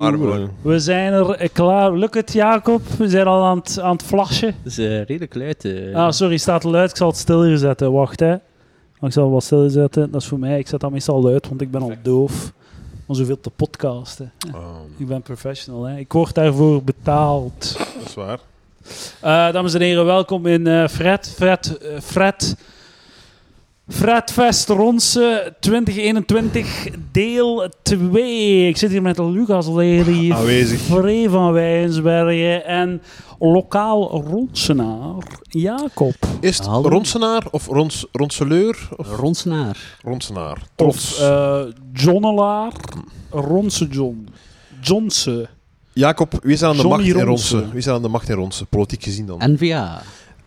Arm hoor. We zijn er eh, klaar. Lukt het, Jacob? We zijn al aan het, aan het flashen. Dat is eh, redelijk luid. eh. Ah, sorry, staat luid. Ik zal het stil zetten. Wacht, hè. Ik zal wat stil zetten. Dat is voor mij. Ik zet dat meestal luid, want ik ben al doof. Om zoveel te podcasten. Ah, Ik ben professional, hè. Ik word daarvoor betaald. dat is waar. Eh, dames en heren, welkom in eh, Fred, Fred, eh, Fred, Fred Fest Ronse 2021, deel 2. Ik zit hier met Lucas Lely, Aanwezig. Free van Wijnsbergen en lokaal Ronsenaar Jacob. Is het Hallo. Ronsenaar of rons, Ronseleur? Of Ronsenaar. Ronsenaar. Of Trots. eh Johnnelaar, Ronse John. Johnse. Jacob, wie zijn aan de Johnny macht in Ronsen. Ronsen? Wie zijn aan de macht in Ronsen, politiek gezien dan? NVA.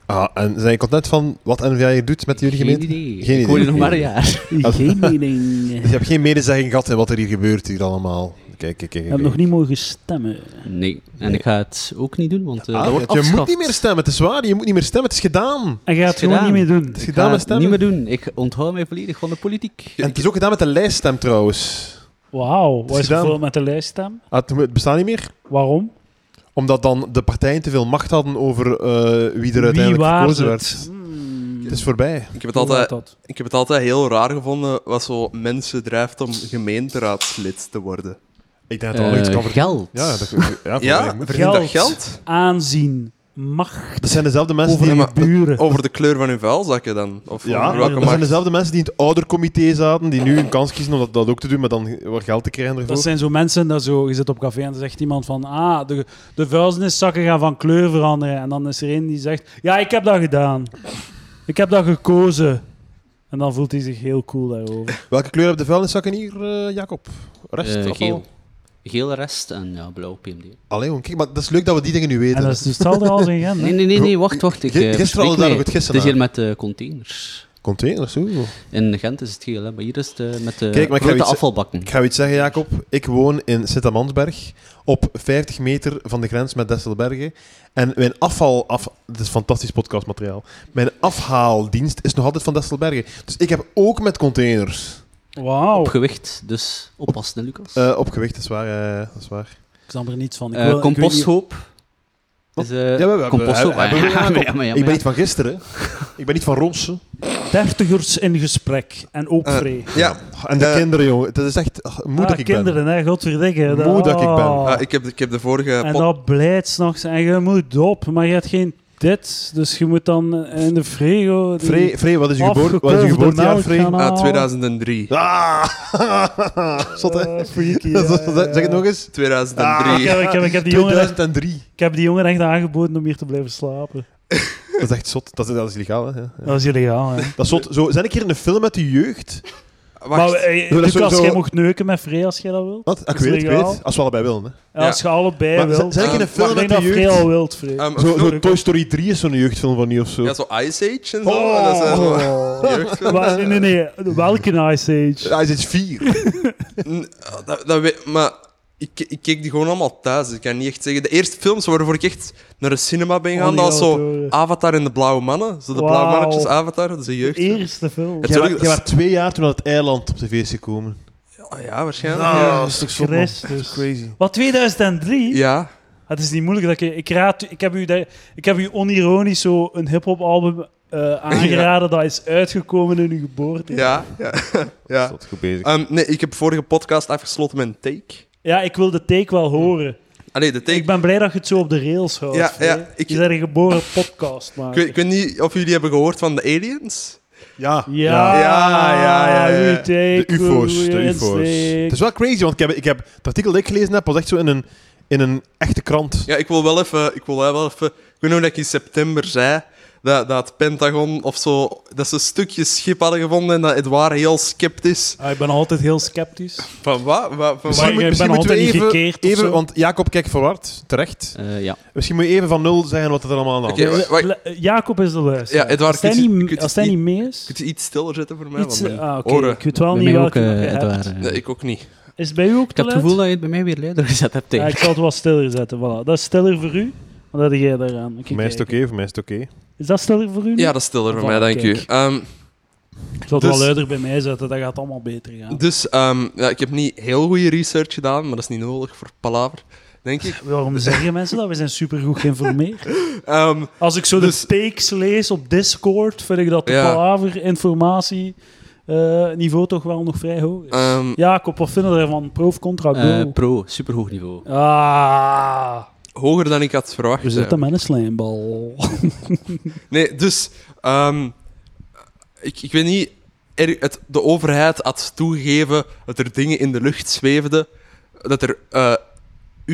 Ah, en zijn je content van wat NVA hier doet met jullie Geen gemeente? idee. Geen Ik hoor je idee. nog maar een jaar. Geen mening. Dus je hebt geen medezegging gehad in wat er hier gebeurt hier allemaal. Kijk, kijk, kijk. Ik heb nog niet mogen stemmen. Nee. En ik ga het ook niet doen, want eh Ah, dat wordt je moet afgeschaft. niet meer stemmen, het is waar. Je moet niet meer stemmen, het is gedaan. En gaat het gewoon niet Gedaan. meer doen. Het is Ik ga gedaan met het niet stemmen. meer doen. Ik onthoud mij volledig van de politiek. En het is ook gedaan met de lijststem trouwens. Wauw, wat is er gedaan. voor met de lijststem? Ah, het- het bestaat niet meer, Waarom? omdat dan de partijen te veel macht hadden over eh, wie er uiteindelijk waar gekozen het? werd. Hmm. Het is voorbij. Ik heb, het Hoe altijd, gaat dat? ik heb het altijd heel raar gevonden wat zo mensen drijft om gemeenteraadslid te worden. Ik denk dat er wel iets Eh kan ver- geld. Ja, dat, ja, Ja, volgens mij moet- vind je dat Geld. geld? Aanzien, macht, dat zijn dezelfde mensen over die... Ja, je maar- buren. Oh, Over de kleur van uw vuilzakken dan? Of Ja, over dat welke zijn markt? dezelfde mensen die in het oudercomité zaten, die nu een kans kiezen om dat, dat ook te doen, maar dan wat geld te krijgen ervoor. Dat zijn zo mensen dat zo, je zit op café en dan zegt iemand van, ah, de, de vuilniszakken gaan van kleur veranderen. En dan is er een die zegt, ja, ik heb dat gedaan. Ik heb dat gekozen. En dan voelt hij zich heel cool daarover. Welke kleur hebben de vuilniszakken hier, eh, Jacob? Rechts? Eh, afval? geel. Geel rest en ja, blauw PMD. Allee, jong, kijk, maar dat is leuk dat we die dingen nu En weten. dat is dus hetzelfde als in Gent, hè? Nee, nee, nee, nee, wacht, wacht. Ik, Gisteren hadden eh, we bespreek daar mij. nog het gisteren Het is hier aan. met eh, containers. Containers, zo. In Gent is het geel, hè, maar hier is het eh, met de Kijk, maar ik ga grote iets- afvalbakken. Ik ga u iets zeggen, Jacob. Ik woon in Sint-Amansberg, op 50 meter van de grens met Destelbergen. En mijn afval... Af, dit is fantastisch podcastmateriaal. Mijn afhaaldienst is nog altijd van Destelbergen. Dus ik heb ook met containers... Wauw. Op gewicht, dus oppassen, hè, Lucas. Eh, op gewicht, dat is waar. eh, dat is waar. Ik snap er niets van. Ik Eh, wil- ik weet niet- composthoop. Is, eh, Ja, we- we- we- composthoop. we- we- we- we- Ah, ja, we- maar ja, maar ja, ik maar ben ja. niet van gisteren. Ik ben niet van Ronsen. Dertigers in gesprek. En ook Eh, vrij. Ja, En de Eh, kinderen, jongen. Het is echt ach, moe dat Ah, ik ben. kinderen, hè, godverdikke. Moe dat ik ben. Ah. ah, ik, heb, ik heb de vorige En pod- dat blijft s'nachts. En je moet op, maar je hebt geen dit. Dus je moet dan in de frigo... die Free, Free, wat is je geboor- wat is afgekolfde uw geboortejaar, melk Free? gaan halen. ah, 2003. Ah! Zot, hè? Eh, freaky, eh. Zeg het nog eens. 2003. Ah, Ik heb, ik, heb, ik, heb die jongen echt, 2003. ik heb die jongen echt aangeboden om hier te blijven slapen. Dat is echt zot. Dat is, dat is illegaal, hè. Ja. Dat is illegaal, hè. Dat is zot. Zo, zijn ik hier in een film met de jeugd? Wacht, Maar eh, dat is Lucas, sowieso- jij mocht neuken met Frey als jij dat wilt. Wat? Ah, Ik Is weet, ik legaal? weet. Als we allebei willen, hè. En Ja. Als je allebei Maar zijn- wilt. zijn ik in een Eh, film maar ik met denk de dat jeugd? Ah, Frey al wilt, Frey. ehm, Zo, zo film- Toy Story 3 is zo'n jeugdfilm van nu of zo. ja, zo Ice Age en zo. Oh. Dat zijn zo- jeugdfilm. Oh. Maar nee, nee, nee. Welke Ice Age? Ah, Hij is iets 4. N- ah, dat, dat weet, maar ik, ik keek die gewoon allemaal thuis. dus Ik kan niet echt zeggen. De eerste films waarvoor ik echt naar de cinema ben gaan, Oh, dat die was gaan we zo door. Ah, Avatar en de Blauwe Mannen. Zo de Wauw. Blauwe Mannetjes Avatar, dat is een jeugd. Eerste film. Het- Jij Sorry, wa- jij dat is- was twee jaar toen aan het eiland op tv is gekomen. Ah, Oh ja, waarschijnlijk. Ah, Ja. dat is toch zot, man. Christus. Dat is crazy. Wat, 2003? ja. Ah, Het is niet moeilijk dat ik... Ik, raad, ik, heb, u daar- ik heb u onironisch zo een hip-hop album eh, aangeraden dat is uitgekomen in uw geboorte. Ja, ja. ja. Zot, goed bezig. Ehm, nee, ik heb vorige podcast afgesloten met een take. Ja, ik wil de take wel horen. Allee, de take. Ik ben blij dat je het zo op de rails houdt. Ja, Frey. ja, ik- Je bent een geboren podcast, maar. Ik weet, ik weet niet of jullie hebben gehoord van de aliens. Ja. Ja, Ja, ja, ja, ja. goeie take, De UFO's, de goeie UFO's. insteek. Het is wel crazy, want ik heb, ik heb het artikel dat ik gelezen heb was echt zo in een, in een echte krant. Ja, ik wil wel even. Ik wil wel even. Ik weet nog dat ik in september zei. Dat, dat het Pentagon of zo. Dat ze een stukje schip hadden gevonden. En dat Edouard heel sceptisch. Ah, ik ben altijd heel sceptisch. Van wat? Wat- van wat? ik ben altijd niet even, gekeerd of even zo. want Jacob kijkt verward, terecht. Eh, ja. Misschien moet je even van nul zeggen wat er allemaal aan de hand Oké, wacht, wacht. Le- Jacob is de luisteraar. Ja, Edouard, als hij kun je- kun niet, je als hij iets- niet mee is, Kun je iets stiller zetten voor mij? iets, Want mijn ah, oké, oren- ik weet wel Bij niet mij welke ook, eh, nog je hebt. Edouard. eh. Nee, ik ook niet. Is het bij u ook Ik heb het te gevoel luid? dat je het bij mij weer luider gezet hebt. hè. Ja, ik zal het wel stiller zetten, voilà. Dat is stiller voor u. Wat had jij daaraan? Oké, Voor mij is het kijk. oké, voor mij is het oké. Is dat stiller voor u? nu? Ja, dat is stiller voor Voilà, mij, dank u. kijk. Ehm, Ik zal het Dus- wel luider bij mij zetten, dat gaat allemaal beter gaan. Dus ehm, ja, ik heb niet heel goede research gedaan, maar dat is niet nodig voor Palaver, denk ik. Waarom Dus- zeggen mensen dat? We zijn supergoed geïnformeerd. Ehm, Als ik zo Dus- de takes lees op Discord, vind ik dat de Ja. palaver informatie eh, niveau toch wel nog vrij hoog is. ehm, Jacob, wat vinden we ervan? Proof contra go. Eh, pro, superhoog Eh, niveau. ah, hoger dan ik had verwacht. we eigenlijk. zitten met een slijmbal. Nee, dus ehm, ik, ik weet niet. er- het, de overheid had toegegeven dat er dingen in de lucht zweefden. Dat er eh,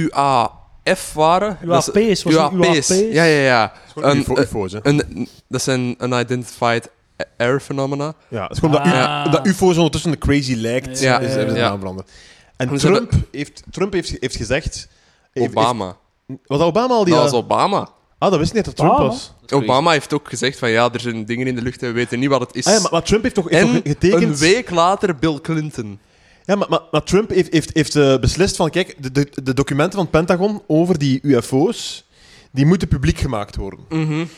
UAF waren. Dat is- UAP's, was het UAP's. UAP's? Ja, ja, ja. Gewoon Een- UFO, eh, UFO's, hè. een, dat zijn unidentified air phenomena. Ja, het is gewoon dat, U- Ah. dat UFO's ondertussen de crazy lijkt. Ja, Ja, is, hebben ze ja. naam veranderd. En Maar ze hebben- Trump, heeft, Trump heeft, heeft gezegd... heeft- Obama. heeft- was dat Obama al die... Dat was Obama. Ah, dat wist ik niet dat Trump Obama? was. Dat is crazy. Obama heeft ook gezegd van ja, er zijn dingen in de lucht en we weten niet wat het is. Ah, ja, maar, maar Trump heeft toch, heeft en toch getekend... een week later Bill Clinton. Ja, maar, maar, maar Trump heeft, heeft, heeft eh, beslist van, kijk, de, de, de documenten van het Pentagon over die UFO's, die moeten publiek gemaakt worden.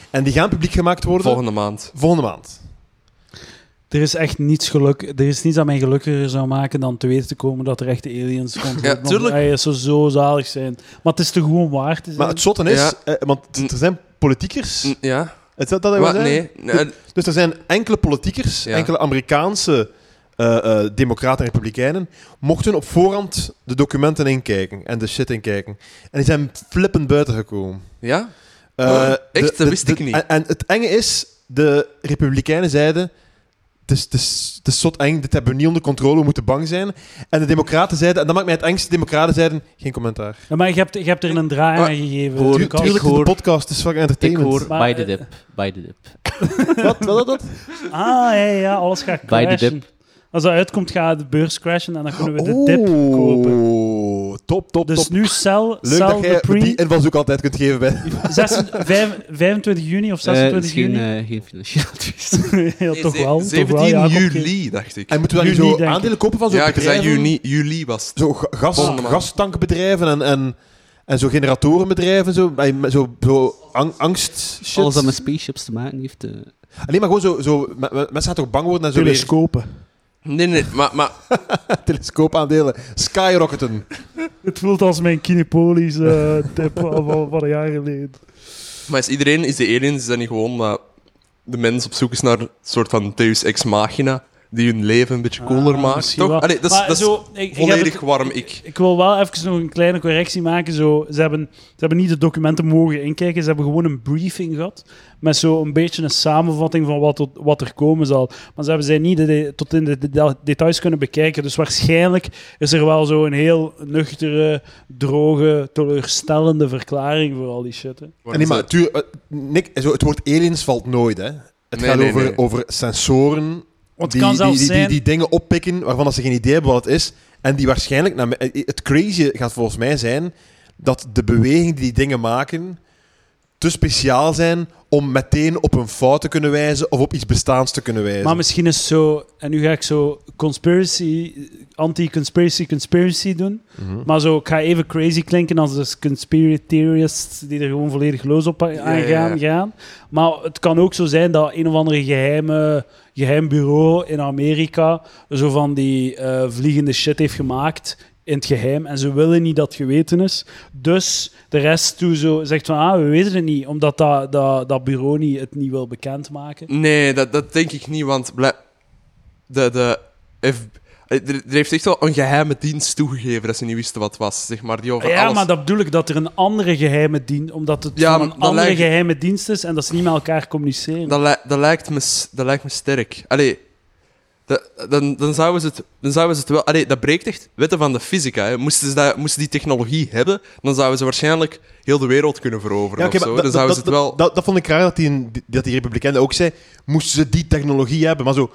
En die gaan publiek gemaakt worden volgende, Mhm. Volgende maand. maand. Er is echt niets geluk. Er is niets dat mij gelukkiger zou maken dan te weten te komen dat er echte aliens rondlopen. Ja, tuurlijk. Want, ey, ze zo zalig zijn. Maar het is te gewoon waar te zijn. Maar het zotte is, Ja. eh, want er zijn politiekers... N- Ja? Het, dat, dat, Wat? dat- Nee. Eh, nee. Dus er zijn enkele politiekers, Ja. enkele Amerikaanse eh, eh, democraten en republikeinen, mochten op voorhand de documenten inkijken en de shit inkijken. En die zijn flippend buiten gekomen. Ja? Eh, Oh, echt? Dat wist ik niet. En, en het enge is, de republikeinen zeiden... Het is, het, is, het is zot eng, dit hebben we niet onder controle, we moeten bang zijn. En de democraten zeiden, en dat maakt mij het engste, de democraten zeiden, geen commentaar. Ja, maar je hebt, je hebt er een draai aan Maar- gegeven. Hoor- Lucas. Tuurlijk, ik hoor- de podcast is fucking Ik entertainment. hoor Maar, by the eh, dip. By the dip. Wat, wat, wat? Ah, ja, ja, alles gaat Bij de crashen. Als dat uitkomt, gaat de beurs crashen en dan kunnen we de dip kopen. Oh, top, top, top. Dus nu sell, Leuk sell dat jij the die pre. invalshoek altijd kunt geven bij... 26 vijf- 25 juni of Eh, 26 misschien juni? eh, geen financieel advies. ja, Nee, toch ze- wel. toch 17 wel, Jacob. juli, dacht ik. En moeten we dan Juni, niet zo denk ik. aandelen kopen van zo'n ja, ik zei bedrijven? juni, juli was het. Zo ga- gas, Volgende maand. gastankbedrijven en, en, en zo generatorenbedrijven, zo, bij- met zo, zo ang- angst shit. Alles dat met spaceships te maken heeft. eh, Alleen maar gewoon zo, zo me- me- mensen gaan toch bang worden en zo weer Telescopen. Nee, nee, maar, maar telescoopaandelen skyrocketen. Het voelt als mijn kinepolis eh tip van, van- van een jaar geleden. Maar is iedereen, is de aliens, is dat niet gewoon dat de mens op zoek is naar een soort van deus ex machina, die hun leven een beetje cooler Ah, maakt? misschien Toch? wel. Allee, dat is, Maar dat is zo, ik- ik heb volledig het- warm ik. Ik wil wel even nog een kleine correctie maken. Zo, ze, hebben, ze hebben niet de documenten mogen inkijken. Ze hebben gewoon een briefing gehad. Met zo'n beetje een samenvatting van wat, tot- wat er komen zal. Maar ze hebben zij niet de de- tot in de, de- details kunnen bekijken. Dus waarschijnlijk is er wel zo'n heel nuchtere, droge, teleurstellende verklaring voor al die shit. Hè. En nee, maar tuur, eh, Nick, zo, het woord aliens valt nooit, hè. Het Nee, gaat nee, over, nee. over sensoren Want die, het kan die, zelfs die, die, zijn- die dingen oppikken waarvan dat ze geen idee hebben wat het is. En die waarschijnlijk... naar me- eh, het crazy gaat volgens mij zijn dat de beweging die die dingen maken te speciaal zijn om meteen op een fout te kunnen wijzen of op iets bestaans te kunnen wijzen. Maar misschien is zo, en nu ga ik zo conspiracy, anti-conspiracy, conspiracy doen. Mhm. Maar zo, ik ga even crazy klinken als de conspiracy theorists die er gewoon volledig los op a- ja, aan ja. gaan, gaan. Maar het kan ook zo zijn dat een of andere geheime, geheim bureau in Amerika zo van die eh, vliegende shit heeft gemaakt in het geheim. En ze willen niet dat het geweten is. Dus de rest toe zo zegt van, ah, we weten het niet. Omdat dat, dat, dat bureau niet, het niet wil bekendmaken. Nee, dat, dat denk ik niet, want blij- de, de F- eh, er, er heeft echt wel een geheime dienst toegegeven dat ze niet wisten wat het was, zeg maar, die over Ah Ja, alles... maar dat bedoel ik dat er een andere geheime dienst, omdat het Ja, van een maar dat andere lijkt- geheime dienst is en dat ze niet met elkaar communiceren. Dat, lij- dat, lijkt me, s- dat lijkt me sterk. Allee, dat- dan, dan, zouden ze het, dan zouden ze het wel... Allee, dat breekt echt wetten van de fysica. Hè. Moesten, ze dat, moesten die technologie hebben, dan zouden ze waarschijnlijk heel de wereld kunnen veroveren. Ja, oké, of zo. maar Dan dat- zouden Dus ze dat- het wel... Dat, dat vond ik raar dat die, dat die Republikeinen ook zei. Moesten ze die technologie hebben? Maar zo,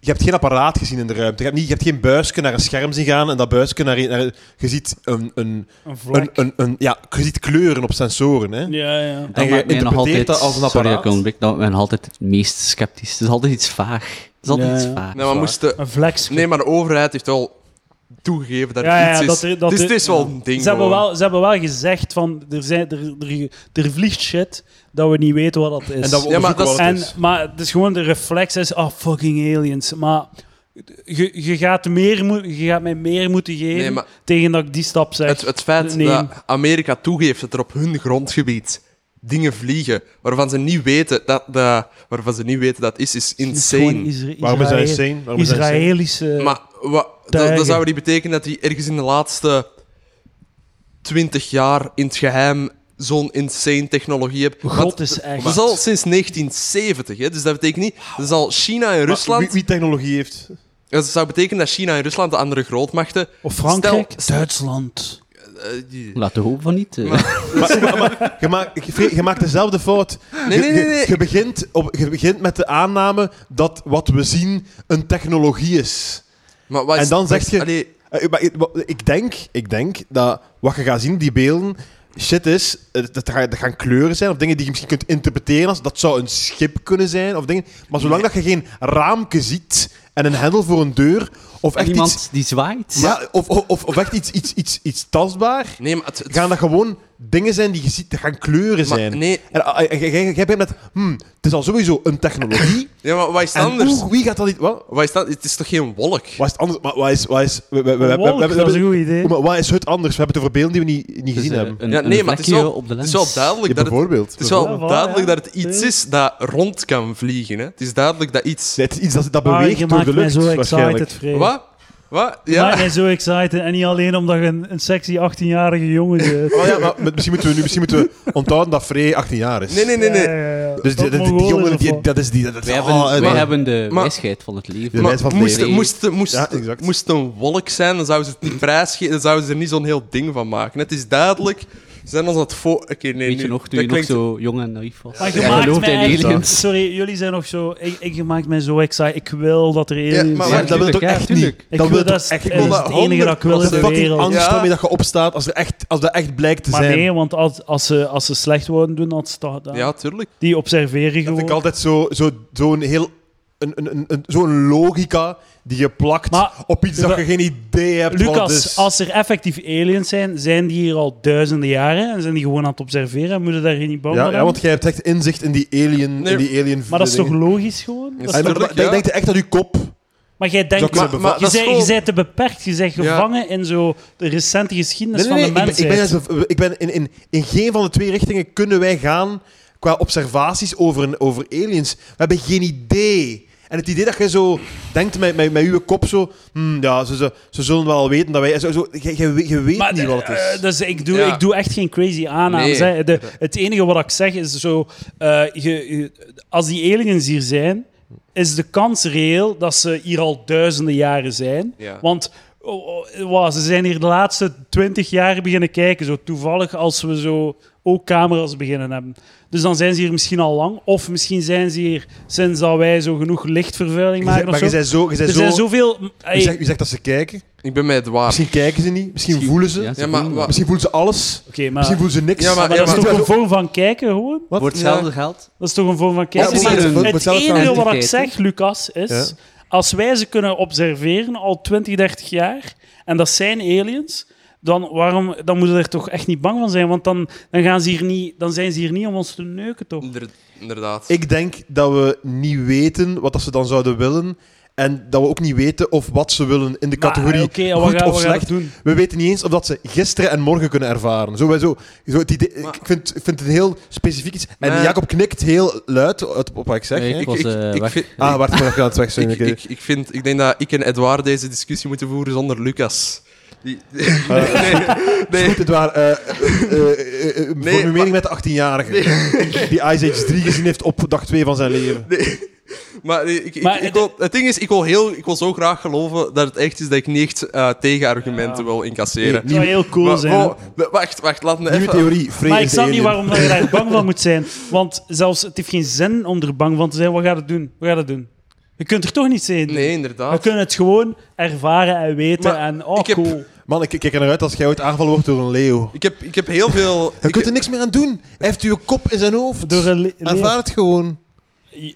je hebt geen apparaat gezien in de ruimte. Je hebt, niet, je hebt geen buisje naar een scherm zien gaan en dat buisje naar, een- naar je ziet een, een, Een vlak. een, een, een- ja, je ziet kleuren op sensoren. Hè? Ja, ja. En je maakt mij nog interpreteert dat als een apparaat. Sorry dat ik onderbreek, dat maakt mij nog altijd het meest sceptisch. Het is altijd iets vaag. Het is altijd Ja, iets ja. vaag. Nee, maar moesten... Een flex. Nee, maar de overheid heeft wel toegegeven dat er Ja, ja, iets is. dat er- dat dus er- het is wel een ding. Ze hebben, gewoon. wel, ze hebben wel gezegd van er, zijn, er, er, er vliegt shit dat we niet weten wat dat is. En dat dus- we Ja, maar onderzoeken dat is- wat het En, is. maar het is gewoon de reflex is, oh fucking aliens. Maar je, je, gaat, meer, moet- je gaat mij meer moeten geven Nee, maar- tegen dat ik die stap zeg. Het, het feit Nee. dat Amerika toegeeft dat er op hun grondgebied dingen vliegen waarvan ze niet weten dat, dat, waarvan ze niet weten dat het is, is Het is gewoon insane. Isra- Waarom is eh, dat Israël- insane? Waarom is dat insane? Israëlische... Maar wa- dat, Tijgen. dat zou niet betekenen dat die ergens in de laatste 20 jaar in het geheim zo'n insane technologie hebben. God Want is echt. Dat is al sinds 1970, hè? dus dat betekent niet. Dat is al China en Maar Rusland. Wie, wie technologie heeft. Dat zou betekenen dat China en Rusland, de andere grootmachten. Of Frankrijk, Stel- Duitsland. eh, die- Laten we hopen van niet. eh. Maar, maar- maar je, maakt, je- Free, je maakt dezelfde fout. Nee, nee, nee, Je- nee. Je, je begint op, je begint met de aanname dat wat we zien een technologie is. Maar wat En is- dan zeg je- Allee, Eh, maar ik- wa- ik, denk, ik denk dat wat je gaat zien, die beelden, shit is, eh, dat ga- dat gaan kleuren zijn of dingen die je misschien kunt interpreteren als dat zou een schip kunnen zijn of dingen. Maar zolang dat je geen raamke ziet en een hendel voor een deur of echt Iemand iets, die zwaait. Dus, ja, of, of, of- of echt iets, iets, iets, iets tastbaar, nee, maar het, het- gaan dat gewoon dingen zijn die je ziet, dat gaan kleuren maar- zijn. nee, En ah, ah, jij- jij jij bent met, hmm, het is al sowieso een technologie. ja, maar wat is het en anders? oeh, wie gaat dat niet... Wat? Wat is dat? Het is toch geen wolk? Wat is het anders? Maar wat is... Wat is we, we, we, we, we, we- Wolk, we- we- dat is een goed idee. Oh, maar wat is het anders? We hebben het over beelden die we niet, niet Dus, gezien eh, hebben. een- Ja, een nee, maar het is vlekje wel, op de het lens. is wel duidelijk Ja, dat het, bijvoorbeeld. het is wel Bijvoorbeeld. duidelijk Ja, dat het iets is dat rond kan vliegen. Hè? Het is duidelijk dat iets. Dus Het is iets dat, dat Ah, beweegt je door maakt de mij lucht, zo waarschijnlijk. excited, Freek. Wat? Wat? Je Ja. maakt mij zo excited. En niet alleen omdat je een, een sexy 18-jarige jongen bent. Oh ja, maar met- misschien moeten we nu misschien moeten we onthouden dat Frey 18 jaar is. Nee, nee, nee, nee. Ja, ja, ja. Dus die, die- Dat die Mongool is jongen, of die, wat? dat is die... Dat, dat- Wij hebben, oh, wij maar- hebben de maar- wijsheid van het leven. Ja. Maar wijs van het moest, leven. moest, moest, Ja, exact. moest een wolk zijn, dan zouden ze het niet prijsgeven, dan zouden ze er niet zo'n heel ding van maken. Het is duidelijk, ze zijn ons dat voor... Oké, nee, Weet je nu, nog, toen dat je nog klinkt- zo jong en naïef was? Maar je Ja, maakt geloofde mij in echt- aliens. Sorry, jullie zijn nog zo... Ik, ik je maakt mij zo excited. Ik wil dat er aliens maar Ja, wacht, zijn. maar dat wil toch tuurlijk, ja, echt tuurlijk. niet? Ik Dat wil wil dat toch is- echt ik niet? wil Dat dat is het enige dat ik wil in de de fucking wereld. angst Ja. waarmee dat je opstaat als, er echt, als dat echt blijkt te Maar zijn. nee, want als, als, ze, als ze slecht worden doen, dan staat dat. Ja, tuurlijk. Die observeren Dat gewoon. vind ik altijd zo'n zo, zo'n heel... Een, een, een, een- zo'n logica die je plakt Maar- op iets dat je geen idee hebt wat het Lucas, is. als er effectief aliens zijn, zijn die hier al duizenden jaren en zijn die gewoon aan het observeren en moeten daar ja, niet bang voor ja, hebben? want jij hebt echt inzicht in die alien... Nee, in die alien Maar dat is toch dingen. logisch gewoon? Dat is En maar- toch- Tuurlijk, maar- ja. Ik denk echt dat je kop... Maar jij denkt, Maar- je, maar dat is bent- gewoon- je bent te beperkt, je bent gevangen in zo de recente geschiedenis Nee, nee, nee, van de ik ben- mensheid. ik ben, juist bev- ik ben in, in, in geen van de twee richtingen kunnen wij gaan qua observaties over, een- over aliens. We hebben geen idee. En het idee dat je zo denkt met, met, met uw kop zo... "Hmm, ja, ze, ze, ze zullen wel weten dat wij... Zo, zo, je, je, je weet Maar, niet wat het is. eh, dus ik doe, Ja. ik doe echt geen crazy aannames. Nee. hè. De, het enige wat ik zeg is zo... eh, je- je- als die aliens hier zijn, is de kans reëel dat ze hier al duizenden jaren zijn. Ja. Want oh, oh, wauw, ze zijn hier de laatste twintig jaar beginnen kijken. Zo toevallig als we zo ook camera's beginnen hebben. Dus dan zijn ze hier misschien al lang. Of misschien zijn ze hier sinds dat wij zo genoeg lichtvervuiling Je zei- maken. maar je of zo. zei Ah. zo... Je zei Er zo zijn zoveel... u, ey, zegt, u zegt dat ze kijken. Ik ben met het waar. Misschien kijken ze niet. Misschien voelen ze. Ja, ze Ja, maar voelen wa- dat. Misschien voelen ze alles. Oké, maar... Misschien voelen ze niks. Ja, maar- Maar ja, dat is maar- toch een vorm van kijken, gewoon? Wat? Voor hetzelfde eh, geld. Dat is toch een vorm van Ja, kijken? maar Maar voor- voor het hetzelfde enige wat ik identiteit, hè? zeg, Lucas, is... Ja. Als wij ze kunnen observeren al 20, 30 jaar, en dat zijn aliens, dan, waarom, dan moeten we er toch echt niet bang van zijn. Want dan, dan, gaan ze hier niet, dan zijn ze hier niet om ons te neuken, toch? Inder- Inderdaad. Ik denk dat we niet weten wat dat ze dan zouden willen. En dat we ook niet weten of wat ze willen in de Maar, categorie oké, ja, wat goed gaan- wat of gaan we slecht. doen? We weten niet eens of dat ze gisteren en morgen kunnen ervaren. Zo, wij zo, zo het idee, Maar- ik, vind, ik vind het een heel specifiek iets. En Maar- Jacob knikt heel luid op, op wat ik zeg. Nee, hè. ik was eh, ik weg. vind- Ah, wacht, ik ben even aan het weg. Ik, Sorry, oké. ik, ik, vind, ik denk dat ik en Edouard deze discussie moeten voeren zonder Lucas. Die, nee, Goed, het waar. eh eh, eh, eh, Nee, vorm uw mening maar- met de 18-jarige die Ice Age 3 gezien heeft op dag 2 van zijn leven. Maar, nee, ik, ik- Maar ik, het- wil, het ding is, ik wil, heel, ik wil zo graag geloven dat het echt is dat ik niet echt eh, tegenargumenten wil incasseren. Dat zou heel cool Maar- zijn. oh, de- wacht, wacht, laat me Nieuwe even... theorie, Frey maar ik is de snap niet alien. waarom dat je daar bang van moet zijn. Want zelfs, het heeft geen zin om er bang van te zijn. Wat gaat het doen? Wat gaat het doen? Je kunt er toch niet zijn. Nee, We inderdaad. kunnen het gewoon ervaren en weten. Maar en, oh, ik heb- cool. Man, ik ik kijk er naar uit als jij ooit aangevallen wordt door een leeuw. Ik heb, ik heb heel veel... Je ik- kunt er niks meer aan doen. Hij heeft uw kop in zijn hoofd. Door een le- Ervaar het gewoon.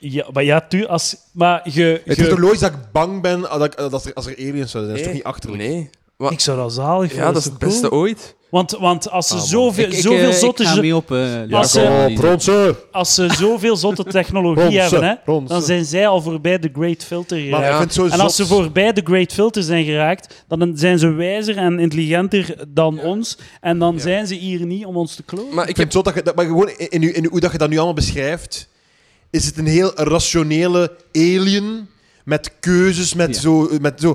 Ja, maar ja, tu, als, maar je, Het je- is toch logisch dat ik bang ben dat ik- dat er, als er aliens zouden zijn. Dat is Nee, toch niet achterlijk? Nee. Wat? Ik zou dat zalig vinden. Ja, dat is het beste ooit. Want, want Ah, als ze zoveel, Ik- ik, zoveel eh, zotte... Ik ga zo- mee op... eh, Als, Lars eh, Oh, Ulrich. Ronse! als ze zoveel zotte technologie Ronse, hebben, hè, ronse. dan zijn zij al voorbij de Great Filter Maar geraakt. Ja. ik vind het zo En als ze zot. voorbij de Great Filter zijn geraakt, dan zijn ze wijzer en intelligenter dan ons. En dan zijn ze hier niet om ons te klonen. Maar Ik ik vind heb... zo dat je, dat, maar gewoon in, in, in hoe dat je dat nu allemaal beschrijft, is het een heel rationele alien met keuzes, met Ja. zo... Met zo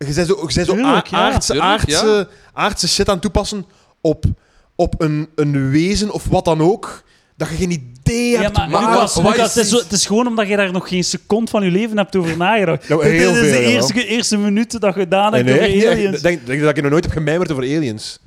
je bent zo, je bent zo Tuurlijk, a- ja. aardse, Tuurlijk, aardse, ja. aardse shit aan het toepassen op, op een, een wezen of wat dan ook, dat je geen idee Ja, hebt. maar maar Lucas, wat- wat Lucas, is het, is, die- zo- het is gewoon omdat je daar nog geen seconde van je leven hebt over nagedacht. Nou, Dit heel is veel, de jawel. eerste, eerste minuut Ah, dat je gedaan Nee, nee, hebt over echt niet. aliens. Ik denk, denk dat ik nog nooit heb gemijmerd over aliens.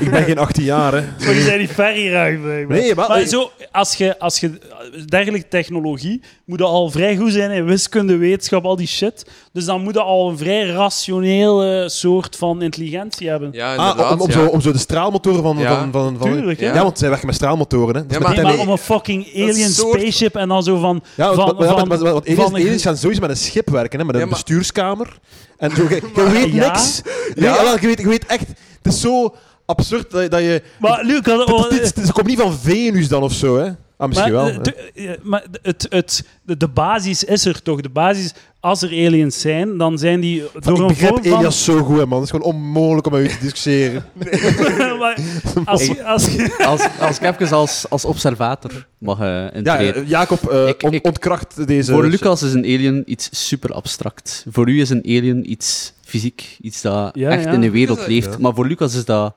ik ben geen 18 jaar, hè. Maar je bent niet ver hieruit, blijkbaar. Nee, maar- maar zo, als je, als je eh, dergelijke technologie moet dat al vrij goed zijn in wiskunde, wetenschap, al die shit. Dus dan moet dat al een vrij rationele soort van intelligentie hebben. Ja, inderdaad. Ah, om, om ja. zo, om zo de straalmotoren van... Ja. van, van, van Tuurlijk, hè? ja. want zij werken met straalmotoren, hè. Dat is Ja, met Nee, maar- tele- maar om een fucking alien een soort- spaceship en dan zo van... Ja, van, want, want- want- want- want aliens, van een- aliens gaan sowieso met een schip werken, hè, met een Ja, maar- bestuurskamer. En zo, je, je weet Ja? niks. Nee, Ja. wel, je, weet, je weet echt... Het is zo absurd dat, je- dat je... Maar Luc, had- het, is niet- het is- het komt niet van Venus dan of zo, hè. Ah, misschien Oh, eh. maar, wel. eh, hè. te- eh, maar het, het, de, de basis is er toch. De basis, als er aliens zijn, dan zijn die door ik een begrijp vorm van... aliens zo goed, hè, man. Het is gewoon onmogelijk om met u te discussiëren. Maar als, je- als, je- Als, als ik even als, als observator mag eh Ja, intreden. eh, Jacob, eh, Ik- on- ik- ontkracht deze... Voor Lucas is een alien iets super abstract. Voor u is een alien iets fysiek, iets dat Ja, echt ja. in de wereld Ja. leeft. Maar voor Lucas is dat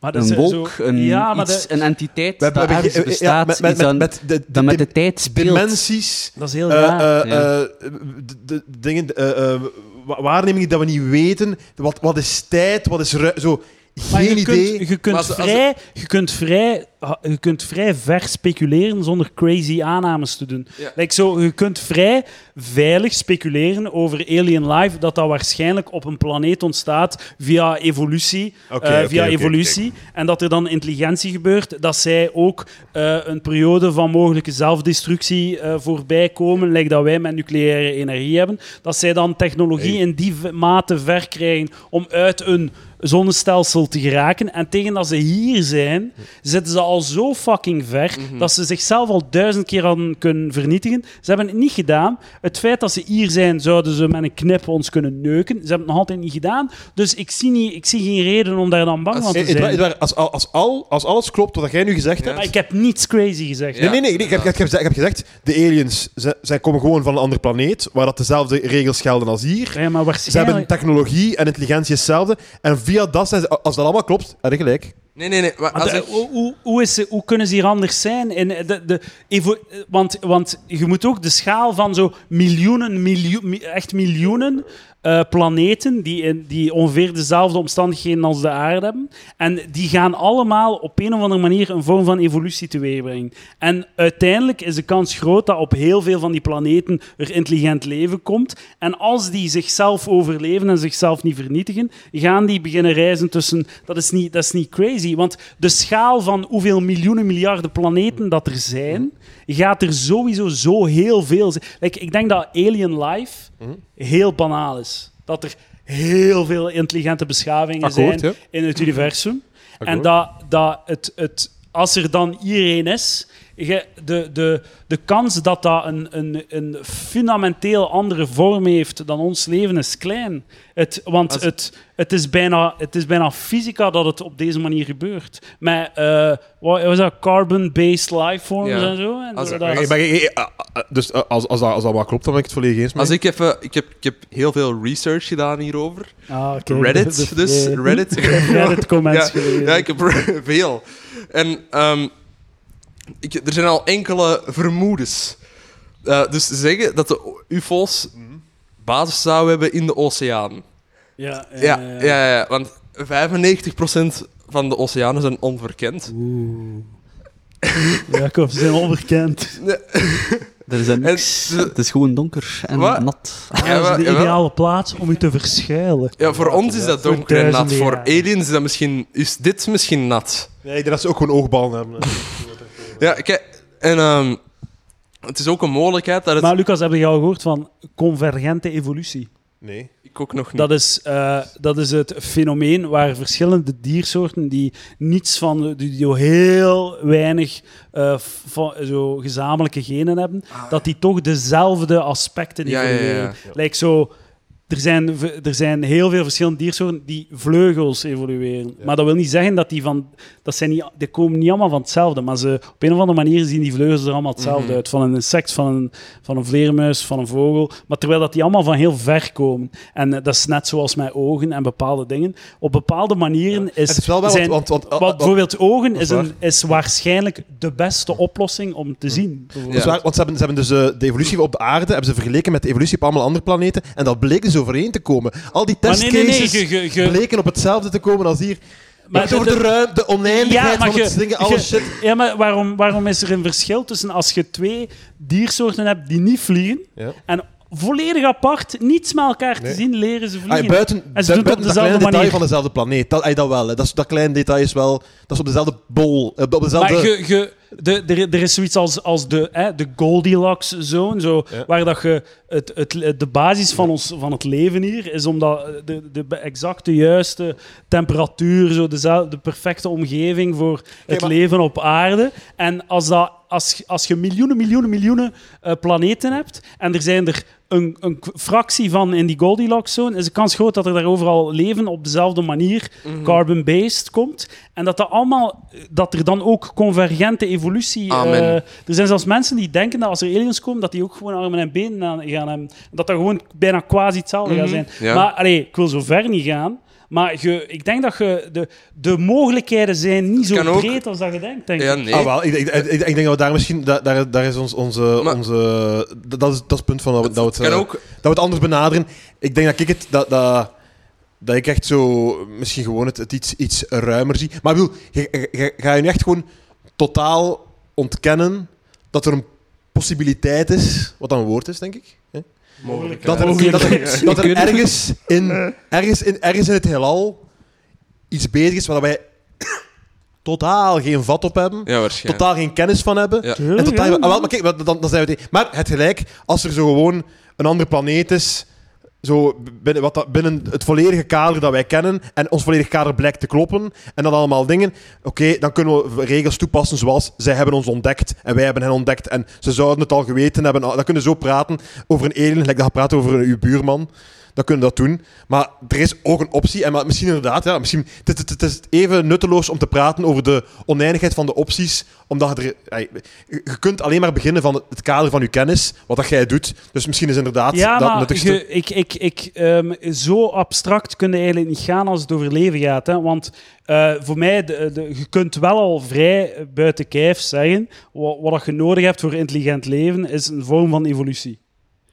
maar dat een is eh, wolk, zo- een, ja, maar iets, dat- een entiteit We hebben- dat we hebben- ergens eh, ja, bestaat, met- met- iets dat- met de- dat met de de tijd speelt. dimensies... dat is heel Eh, raar. eh, Ja. eh, de- de dingen, eh, eh, wa- waarnemingen dat we niet weten. Wat, wat is tijd? Wat is ru- zo? Maar Geen je idee. Kunt, je, kunt Maar als- als- vrij, je, kunt vrij, ha- je kunt vrij ver speculeren zonder crazy aannames te doen. Ja. Like zo, je kunt vrij veilig speculeren over Alien Life, dat dat waarschijnlijk op een planeet ontstaat via evolutie. Oké, eh, oké, via oké, evolutie. En dat er dan intelligentie gebeurt, dat zij ook eh, een periode van mogelijke zelfdestructie eh, voorbij komen, like dat wij met nucleaire energie hebben. Dat zij dan technologie Hey. in die v- mate ver krijgen om uit een zonnestelsel te geraken. En tegen dat ze hier zijn, zitten ze al zo fucking ver dat ze zichzelf al duizend keer hadden kunnen vernietigen. Ze hebben het niet gedaan. Het feit dat ze hier zijn, zouden ze met een knip ons kunnen neuken. Ze hebben het nog altijd niet gedaan. Dus ik zie, niet, ik zie geen reden om daar dan bang Als- van te Eh, het wa- zijn. het wa- als, al- als, al, als alles klopt wat jij nu gezegd Ja. hebt. Maar ik heb niets crazy gezegd. Nee, nee, nee. Ik heb, ik, heb, gezegd- ik heb gezegd: de aliens ze, zij komen gewoon van een andere planeet. waar dat dezelfde regels gelden als hier. Ja, maar Ze hebben waarschijnlijk... technologie en intelligentie hetzelfde. En via dat zijn ze, als dat allemaal klopt, heb je gelijk. Nee, nee, nee. Maar Want, als eh, ik... oh, hoe, hoe, hoe, is, ze- hoe kunnen ze hier anders zijn? En eh, de, de, evo- eh, want, want je moet ook de schaal van zo miljoenen, miljoen, mi- echt miljoenen eh, planeten die, in, die ongeveer dezelfde omstandigheden als de aarde hebben. En die gaan allemaal op een of andere manier een vorm van evolutie teweegbrengen. En uiteindelijk is de kans groot dat op heel veel van die planeten er intelligent leven komt. En als die zichzelf overleven en zichzelf niet vernietigen, gaan die beginnen reizen tussen. Dat is niet, dat is niet crazy. Want de schaal van hoeveel miljoenen, miljarden planeten dat er zijn, gaat er sowieso zo heel veel zijn. Like, ik denk dat alien life Mhm. heel banaal is. Dat er heel veel intelligente beschavingen Akkoord, zijn ja. in het universum. En Akkoord. dat, dat het, het, als er dan iedereen is, je- de, de, de kans dat dat een, een, een fundamenteel andere vorm heeft dan ons leven is klein. Het, want Als- het, het, is bijna, het is bijna fysica dat het op deze manier gebeurt. Met eh, wat was dat? Carbon-based lifeforms Ja. en zo. En Als- zo, als- dat, Maar, eh, eh, eh, eh, dus eh, als, als, dat, als dat wel klopt, dan ben ik het volledig eens. Mee. Als ik even... Ik heb, ik heb heel veel research gedaan hierover. Ah, oké. Reddit, dus. Ja. Reddit. Reddit-comments ja, gelezen. ja, ik heb er veel. En ehm, ik, er zijn al enkele vermoedens. Eh, dus ze zeggen dat de UFO's basis zouden hebben in de oceaan. Ja, eh, Ja, ja, ja, want 95% van de oceanen zijn onverkend. Oeh. Jacob, ze zijn onbekend. Er is dan niks. En ze- Het is gewoon donker en Wat? nat. Ja, Ja, Ah, dat wel- is de ja, wel. ideale plaats om u te verschuilen. Ja, voor ons is dat Voor donker en nat. duizenden Voor jaren. aliens is, dat misschien, is dit misschien nat. Nee, ik denk dat ze ook gewoon oogballen hebben. hè. Ja, kijk, en ehm, het is ook een mogelijkheid dat het... Maar Lucas, heb je al gehoord van convergente evolutie? Nee. Ik ook nog niet. Dat is, eh, dat is het fenomeen waar verschillende diersoorten die niets van, die zo heel weinig eh, van, zo gezamenlijke genen hebben, dat die toch dezelfde aspecten Ah, Ja, ja, ja, ja. evolueren. Lijkt zo, er zijn, v- er zijn heel veel verschillende diersoorten die vleugels evolueren. Ja. Maar dat wil niet zeggen dat die van, dat zijn niet, die komen niet allemaal van hetzelfde, maar ze, op een of andere manier zien die vleugels er allemaal hetzelfde Mhm. uit. Van een insect, van een, van een vleermuis, van een vogel. Maar terwijl dat die allemaal van heel ver komen. En eh, dat is net zoals met ogen en bepaalde dingen. Op bepaalde manieren is... Het is wel wel, zijn- want, want, want, wat- bijvoorbeeld ogen is is, een, is waarschijnlijk de beste oplossing om Mhm. te zien. bijvoorbeeld. Dat is waar, want ze hebben, ze hebben dus eh, de evolutie op de aarde hebben ze vergeleken met de evolutie op allemaal andere planeten. En dat bleek dus overeen te komen. Al die Maar nee, nee, nee. testcases ge- ge- ge- bleken op hetzelfde te komen als hier. Maar maar het gaat over de ruimte, de oneindigheid Ja, maar van het ge- zingen, alles ge- shit. Ja, maar waarom, waarom is er een verschil tussen als je twee diersoorten hebt die niet vliegen Ja. en volledig apart, niets met elkaar Nee. te zien, leren ze Ah, vliegen? ja, buiten En ze doen het buiten op dat dezelfde kleine detail manier. van dezelfde planeet. Dat, ah, dat wel. hè. Dat, is, dat kleine detail is wel... Dat is op dezelfde bol. eh, Op dezelfde... Maar je, je, de, er, er is zoiets als, als de, hè, de Goldilocks-zone, zo, Ja. waar dat je het, het, de basis van, ons, van het leven hier is om dat, de, de exacte juiste temperatuur, zo, de, de perfecte omgeving voor het maar- leven op aarde. En als, dat, als, je- als je miljoenen, miljoenen, miljoenen eh, planeten hebt en er zijn er een, een k- fractie van in die Goldilocks-zone, is de kans groot dat er daar overal leven op dezelfde manier Mhm. carbon-based komt. En dat, dat, allemaal, dat er dan ook convergente evolutie... eh, Amen. er zijn zelfs mensen die denken dat als er aliens komen, dat die ook gewoon armen en benen aan- gaan hebben. Dat dat gewoon bijna quasi hetzelfde gaat zijn. Mhm. ja. Maar allee, ik wil zo ver niet gaan. Maar je, ik denk dat je de, de mogelijkheden zijn niet kan zo ook- breed als dat je denkt. Denk Ja, ik. nee. Ah, wel, ik, ik, ik, ik denk dat we daar misschien... da- Daar, daar is ons, onze... Maar- onze dat, dat is, dat is het punt van dat we, dat we het, kan eh, ook... dat we het anders benaderen. Ik denk dat ik het... Dat, dat, dat ik echt zo... Misschien gewoon het, het iets, iets ruimer zie. Maar ik bedoel, je- je- je- ga je nu echt gewoon totaal ontkennen dat er een possibiliteit is... Wat dan een woord is, denk ik. hè? Mogelijk, Dat er, Mogelijk. dat er, dat er Ik weet het ergens, in, ergens, in, ergens in het heelal iets bezig is waar wij totaal geen vat op hebben, Ja, waarschijnlijk. totaal geen kennis van hebben. Ja. En Tuurlijk, totaal, hè. ah, wel, maar kijk, dan, dan zijn we tegen. Maar het gelijk, als er zo gewoon een andere planeet is, zo binnen, wat dat, binnen het volledige kader dat wij kennen, en ons volledig kader blijkt te kloppen, en dan allemaal dingen, oké, dan kunnen we regels toepassen zoals zij hebben ons ontdekt, en wij hebben hen ontdekt, en ze zouden het al geweten hebben. Ah, Dan kunnen we zo praten over een alien, gelijk dat je praat over een, uw buurman. Dan kunnen we dat doen. Maar er is ook een optie. En maar misschien inderdaad, ja, misschien, het, is- het, is- het is even nutteloos om te praten over de oneindigheid van de opties. Omdat je er. ey, Je je kunt alleen maar beginnen van het kader van je kennis, wat dat jij doet. Dus misschien is inderdaad Ja, dat maar nuttigste. je- ik, ik, ik, ehm, zo abstract kun je eigenlijk niet gaan als het over leven gaat. Hè? Want eh, voor mij, de, de- je kunt wel al vrij eh, buiten kijf zeggen, wat, wat je nodig hebt voor intelligent leven, is een vorm van evolutie.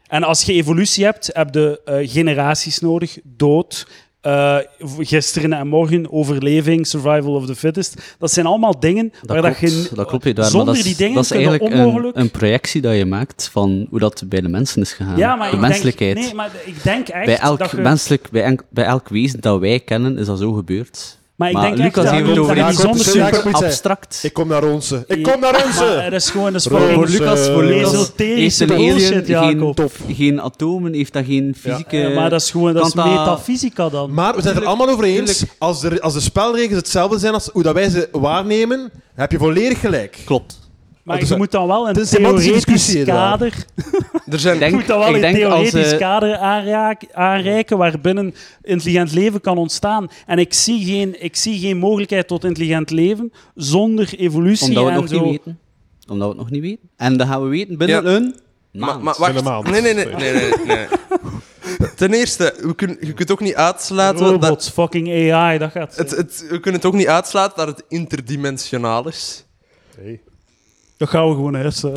En als je evolutie hebt, heb je eh, generaties nodig, dood, eh, v- gisteren en morgen, overleving, survival of the fittest. Dat zijn allemaal dingen Dat waar Ah, klopt, dat je... dat klopt Eduard, zonder maar dat is, die dingen dat is kunnen eigenlijk een- onmogelijk- Een, projectie dat je maakt van hoe dat bij de mensen is gegaan. ja, maar de ik menselijkheid. Denk, nee, maar ik denk echt bij, elk dat je... menselijk, bij, enk- bij elk wezen dat wij kennen is dat zo gebeurd. Maar ik Maar denk Lucas echt heeft dat het over dat iets zonder super- super- Ik moet zeggen- Abstract. Ik kom naar onze. Ik Ja, kom naar Maar onze. er is gewoon een Roos, voor spanning. Lucas, eh, voor Lucas heeft Esoterische een alien bullshit, geen, Jacob. top, geen atomen, heeft dat geen fysieke... Ja, maar dat is gewoon dat is Kan dat- metafysica dan. Maar we zijn het er allemaal Tuurlijk, over eens. tuurlijk. Als, er, als de spelregels hetzelfde zijn als hoe dat wij ze waarnemen, heb je volledig gelijk. Klopt. Maar dus je dat- moet dan wel een het is een semantische theoretisch discussie, Eduard. kader... Er zijn... Ik denk- Je moet dan wel ik een denk theoretisch als, eh, kader aanraak- aanreiken waarbinnen intelligent leven kan ontstaan. En ik zie geen, ik zie geen mogelijkheid tot intelligent leven zonder evolutie Omdat we en het nog zo. niet weten. Omdat we het nog niet weten. En dat gaan we weten binnen Ja. een Maar, maand. maar wacht. Binnen maand. Nee, nee, nee. nee, nee, nee. Ten eerste, we kun, je kunt ook niet Oh, uitsluiten... Dat, Robots, fucking AI, dat gaat... het, het, we kunnen het ook niet uitsluiten dat het interdimensionaal is. Dat gaan we gewoon hersenen.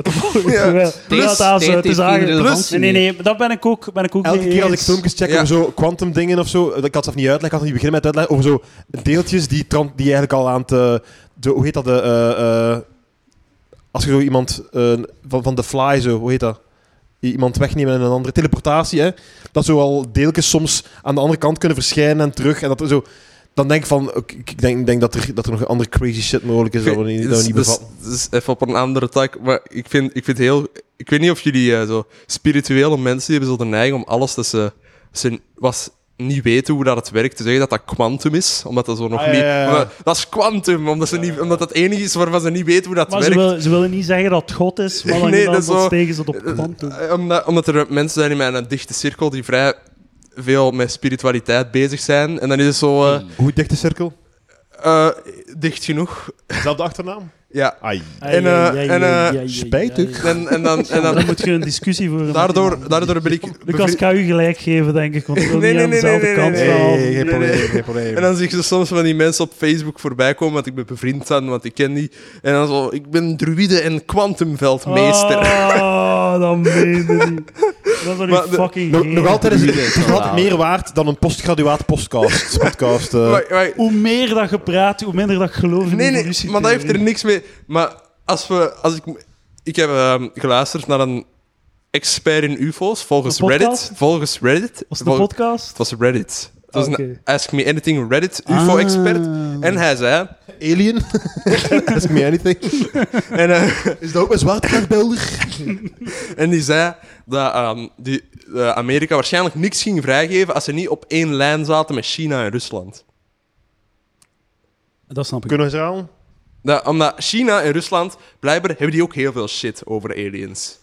Ja. Plus, Plus, tijd het is heeft aange... geen Plus, nee, relevantie nee, nee, dat ben ik ook, ben ik ook Elke mee keer als ik eens. filmpjes check Ja. over zo quantum dingen of zo, ik had zelf niet uitleggen, ik had niet beginnen met uitleggen, over zo deeltjes die, tran- die eigenlijk al aan het... eh, de- hoe heet dat? De, eh, eh, als je zo iemand eh, van, van de fly, zo, hoe heet dat? I- Iemand wegnemen en een andere teleportatie, hè? Dat zo al deeltjes soms aan de andere kant kunnen verschijnen en terug. En dat er zo... Dan denk ik van, oké, ik denk, ik denk dat, er, dat er nog andere crazy shit mogelijk is dat we niet, dat we niet Dus- bevatten. dus- dus even op een andere tak. Maar ik vind, ik vind heel... Ik weet niet of jullie eh, zo... Spirituele mensen die hebben zo de neiging om alles dat ze ze was niet weten hoe dat het werkt, te zeggen dat dat kwantum is, omdat dat zo nog Ah, ja, niet... ja, ja. omdat- dat is kwantum, omdat, ze niet- omdat dat het enige is waarvan ze niet weten hoe dat Maar ze, werkt. wil, ze willen niet zeggen dat het God is, maar dan Nee, nee, dat is dat wel- stegen ze het op kwam toe. Eh, Omdat, omdat er mensen zijn in mijn dichte cirkel die vrij veel met spiritualiteit bezig zijn. En dan is het zo eh, Hoe dicht de cirkel? eh, dicht genoeg. Zelfde achternaam? Ja. Ai. En, eh, en, eh, spijtig. En, en dan, en Dan dan, moet je een discussie voeren. met daardoor, iemand. daardoor ben ik. Lucas, ik bevri- ga u gelijk geven, denk ik, want ik wil niet Nee, nee, aan nee, dezelfde nee, kant nee, staan. Nee, geen nee, probleem, geen probleem. En dan zie ik zo soms van die mensen op Facebook voorbij komen, want ik ben bevriend aan, want ik ken die. En dan zo, ik ben druïde en kwantumveldmeester. Oh, dat meen je niet. Dat is Maar een de- fucking Nog, heerlijk. nog altijd is het, het is nog altijd Wauw. meer waard dan een postgraduaat podcast. podcast eh. Maar- maar- Hoe meer dat je praat, hoe minder dat ik geloof in Nee, nee, evolutie. maar dat heeft er niks mee. Maar als we. Als ik, ik heb ehm, geluisterd naar een expert in UFO's volgens Een podcast? Reddit. Volgens Reddit. Was het een Vol- podcast? het was Reddit. Het was Ah, een oké. Ah. Ask Me Anything Reddit UFO-expert. En hij zei. Alien? Ask me anything. En, eh, Is dat ook een zwaartekrachtbeelder? en die zei dat ehm, die, eh, Amerika waarschijnlijk niks ging vrijgeven als ze niet op één lijn zaten met China en Rusland. Dat snap ik. Kunnen we ze herhalen? Dat, omdat China en Rusland, blijkbaar hebben die ook heel veel shit over aliens.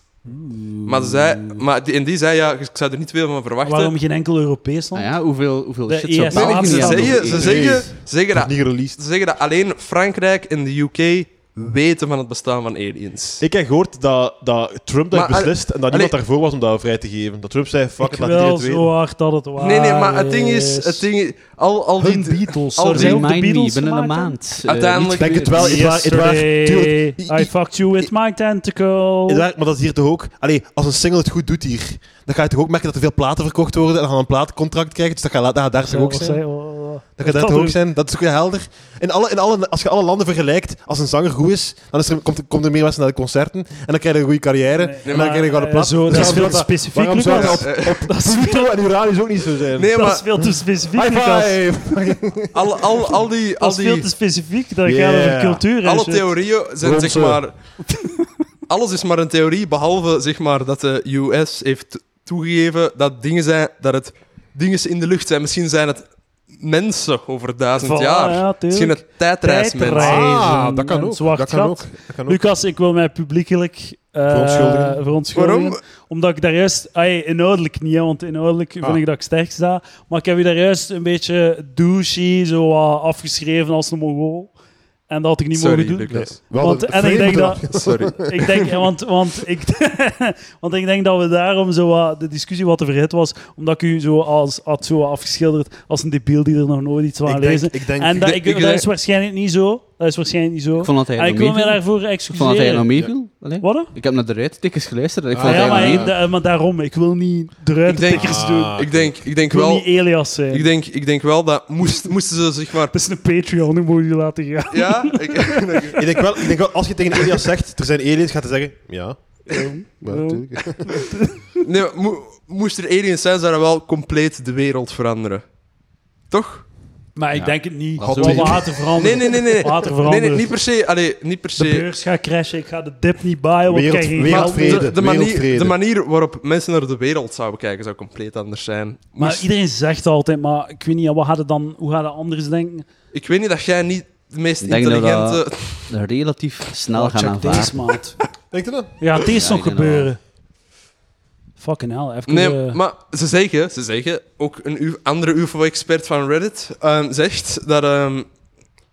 Maar, ze zei, maar die, en die zei, ja, ik zou er niet veel van verwachten. Waarom geen enkel Europees land? Ah ja, hoeveel, hoeveel De shit zou ESA Nee, België nee, niet ze, Afghanistan aan zeggen, doen? ze, Nee. zeggen, ze, zeggen Dat is dat, niet released. ze zeggen dat alleen Frankrijk en de UK weten van het bestaan van aliens. Ik heb gehoord dat, dat Trump dat Maar, heeft beslist en dat allee- niemand daarvoor was om dat vrij te geven. Dat Trump zei, fuck ik it, laat iedereen wil het weten. zo hard dat het waar nee, nee, maar het ding is... Het ding, is- al, al Hun die, Beatles. al Al die- zijn ook de Remind me, Beatles binnen een gemaakt, hè? maand. eh, Uiteindelijk- niet Ik denk het weer. wel, het waar, het waar. Yesterday, Tuurlijk. I fucked you with my tentacle. Is daar- maar dat is hier toch ook... Allee, als een single het goed doet hier, dan ga je toch ook merken dat er veel platen verkocht worden en dan gaan een platencontract krijgen. Dus dat gaat daar daar toch ook zijn. Dat gaat daar toch ook zijn. Dat is toch helder. In alle, in alle, als je alle landen vergelijkt, als een zanger goed is, dan is er, komt, komt er meer mensen naar de concerten en dan krijg je een goede carrière Nee, en maar, dan krijg je gewoon een eh, plaat. zo, dat waarom is zou veel te specifiek, Waarom zou Lucas. dat op, op Pluto en Uranus ook niet zo zijn? Nee, Dat is maar veel te specifiek, High Lucas. five! al, al, al die... Al Dat is veel die te specifiek. Dat gaat Yeah. over cultuur. en alle shit. theorieën zijn Rond zeg ze. maar... Alles is maar een theorie, behalve zeg maar dat de US heeft toegegeven dat dingen zijn... Dat het dingen in de lucht zijn. Misschien zijn het mensen over duizend Voilà, jaar. ja, tuurlijk. Misschien het Tijdreis. tijdreismens. Reizen, Ah, dat kan een ook. zwart Dat kan gat. ook. Dat kan ook. Lucas, ik wil mij publiekelijk eh Verontschuldigen. verontschuldigen. Waarom? Omdat ik daar juist... ai, inhoudelijk niet, hè, want inhoudelijk Ah. vind ik dat ik sterk sta. Maar ik heb je daar juist een beetje douchey zo wat afgeschreven als een mongool. En dat had ik niet Sorry, mogen doen. Lucas. Want- en ik denk dat- Sorry. Ik denk, want, want, ik, want ik denk dat we daarom zo wat- de discussie wat te verhit was, omdat ik u zo als, had zo afgeschilderd als een debiel die er nog nooit iets van Ik had denk, lezen. ik denk, en dat, ik ik, denk- dat is waarschijnlijk niet zo. Dat is waarschijnlijk niet zo. Ik vond dat hij en Ah, ik nog wil mij meeviel. daarvoor Ik vond dat hij nog excuseren. meeviel. Allee. Wat? dan? Ik heb naar de ruittikkers geluisterd en ik Ah, vond Ah, dat ja, hij maar, nog ik- ja. meeviel. da- maar daarom, ik wil niet eruit Ik denk- tikkers doen. Ah, Ik denk, ik denk Ik wil wel... niet Elias zijn. Ik denk, ik denk wel dat moest, moesten ze zeg maar. Het is een Patreon, ik moet je laten gaan. Ja, ik, Ik denk wel, ik denk wel, als je tegen Elias zegt, er zijn aliens, gaat hij zeggen, ja. Maar natuurlijk. nee, maar mo- moest er aliens zijn, zou dat wel compleet de wereld veranderen. Toch? Maar ik Ja. denk het niet. Dat Wat is ook- water veranderen. Nee, nee, nee, nee. Water Nee, veranderen. nee, niet per se. Allee, niet per de se. beurs gaat crashen, ik ga de dip niet buyen, want ik Wereld- krijg geen wereld- geld meer. Wereldvrede, De, de, manier, wereldvrede. de manier waarop mensen naar de wereld zouden kijken zou compleet anders zijn. Maar Moest- iedereen zegt altijd, maar ik weet niet, ja, wat gaat het dan, hoe gaat het anders denken? ik weet niet dat jij niet de meest Ik denk dat intelligente. Relatief snel Oh, gaan check aanvaarden. deze maat. Denk je dat? Ja, het is Ja, nog ik denk dat gebeuren. Fucking hell, even... Nee, eh, maar ze zeggen, ze zeggen ook een U- andere UFO-expert van Reddit ehm, zegt dat, ehm,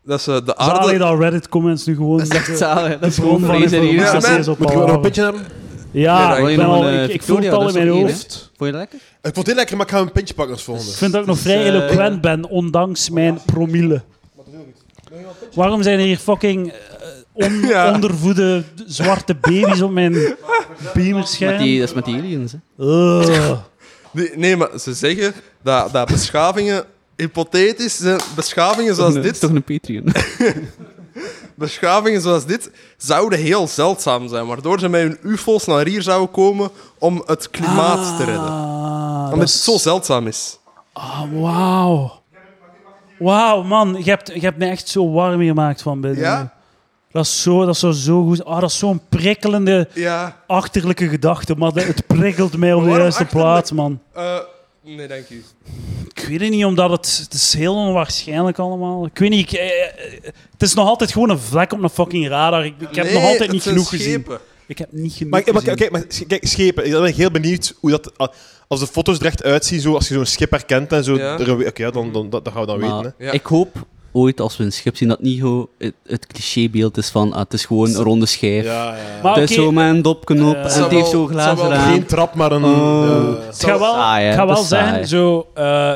dat ze de zalig aarde. dat Reddit-comments nu gewoon... Dat is echt zalig. Dat de is bron gewoon van vrees en informatie Ja, eerste. maar- is op Moet ik gewoon nog een Palaver. pintje hebben? Ja, Nee, ik, dat ben is al, nog een, ik, eh, ik voel het Victoria, al in dat is mijn nog één, hè? hoofd. Vond je dat lekker? Ik vond het heel lekker, maar ik ga een pintje pakken als volgende. Ik vind dat ik nog Het is, vrij eh, eloquent ben, ondanks mijn promille. Waarom zijn er hier fucking eh, on- Ja. ondervoede zwarte baby's op mijn Met die, beamerscherm? dat is met die aliens. Hè. Ugh. Nee, nee, maar ze zeggen dat, dat beschavingen hypothetisch zijn. Beschavingen zoals Toch een- dit, Toch een Patreon. beschavingen zoals dit zouden heel zeldzaam zijn, waardoor ze met hun UFO's naar hier zouden komen om het klimaat te redden. Ah, dat Omdat is- het zo zeldzaam is. Ah, wauw. Wauw, man. Je hebt, je hebt me echt zo warm gemaakt van binnen. Ja? Dat is zo, dat zou zo goed... Ah, dat is zo'n prikkelende, Ja. achterlijke gedachte. Maar dat- het prikkelt mij op de Waarom juiste achterlijk? plaats, man. eh, Nee, dank u. Ik weet het niet, omdat het, het is heel onwaarschijnlijk allemaal. Ik weet niet, ik, eh, eh, het is nog altijd gewoon een vlek op een fucking radar. Ik, ik heb Nee, nog altijd niet het zijn genoeg gezien. schepen. Ik heb niet genoeg Maar, maar, gezien. kijk, maar sch- kijk, schepen. Ik ben ik heel benieuwd hoe dat... a- Als de foto's er echt uitzien, zo, als je zo'n schip herkent en zo... Ja. er- Oké, ja, dan, dan, dat, dat gaan we dan Maar weten. hè. Ja. ik hoop ooit als we een schip zien dat niet gewoon het, het clichébeeld is van ah, het is gewoon een ronde Hè. schijf. Ja, ja. Maar- Het is oké, zo met een dopje op eh, en zou het heeft wel- zo glazen zou wel raam. Geen trap, maar een... Oh. eh, Het gaat wel, saai, hè? het gaat Het wel is zijn, saai. zo, eh,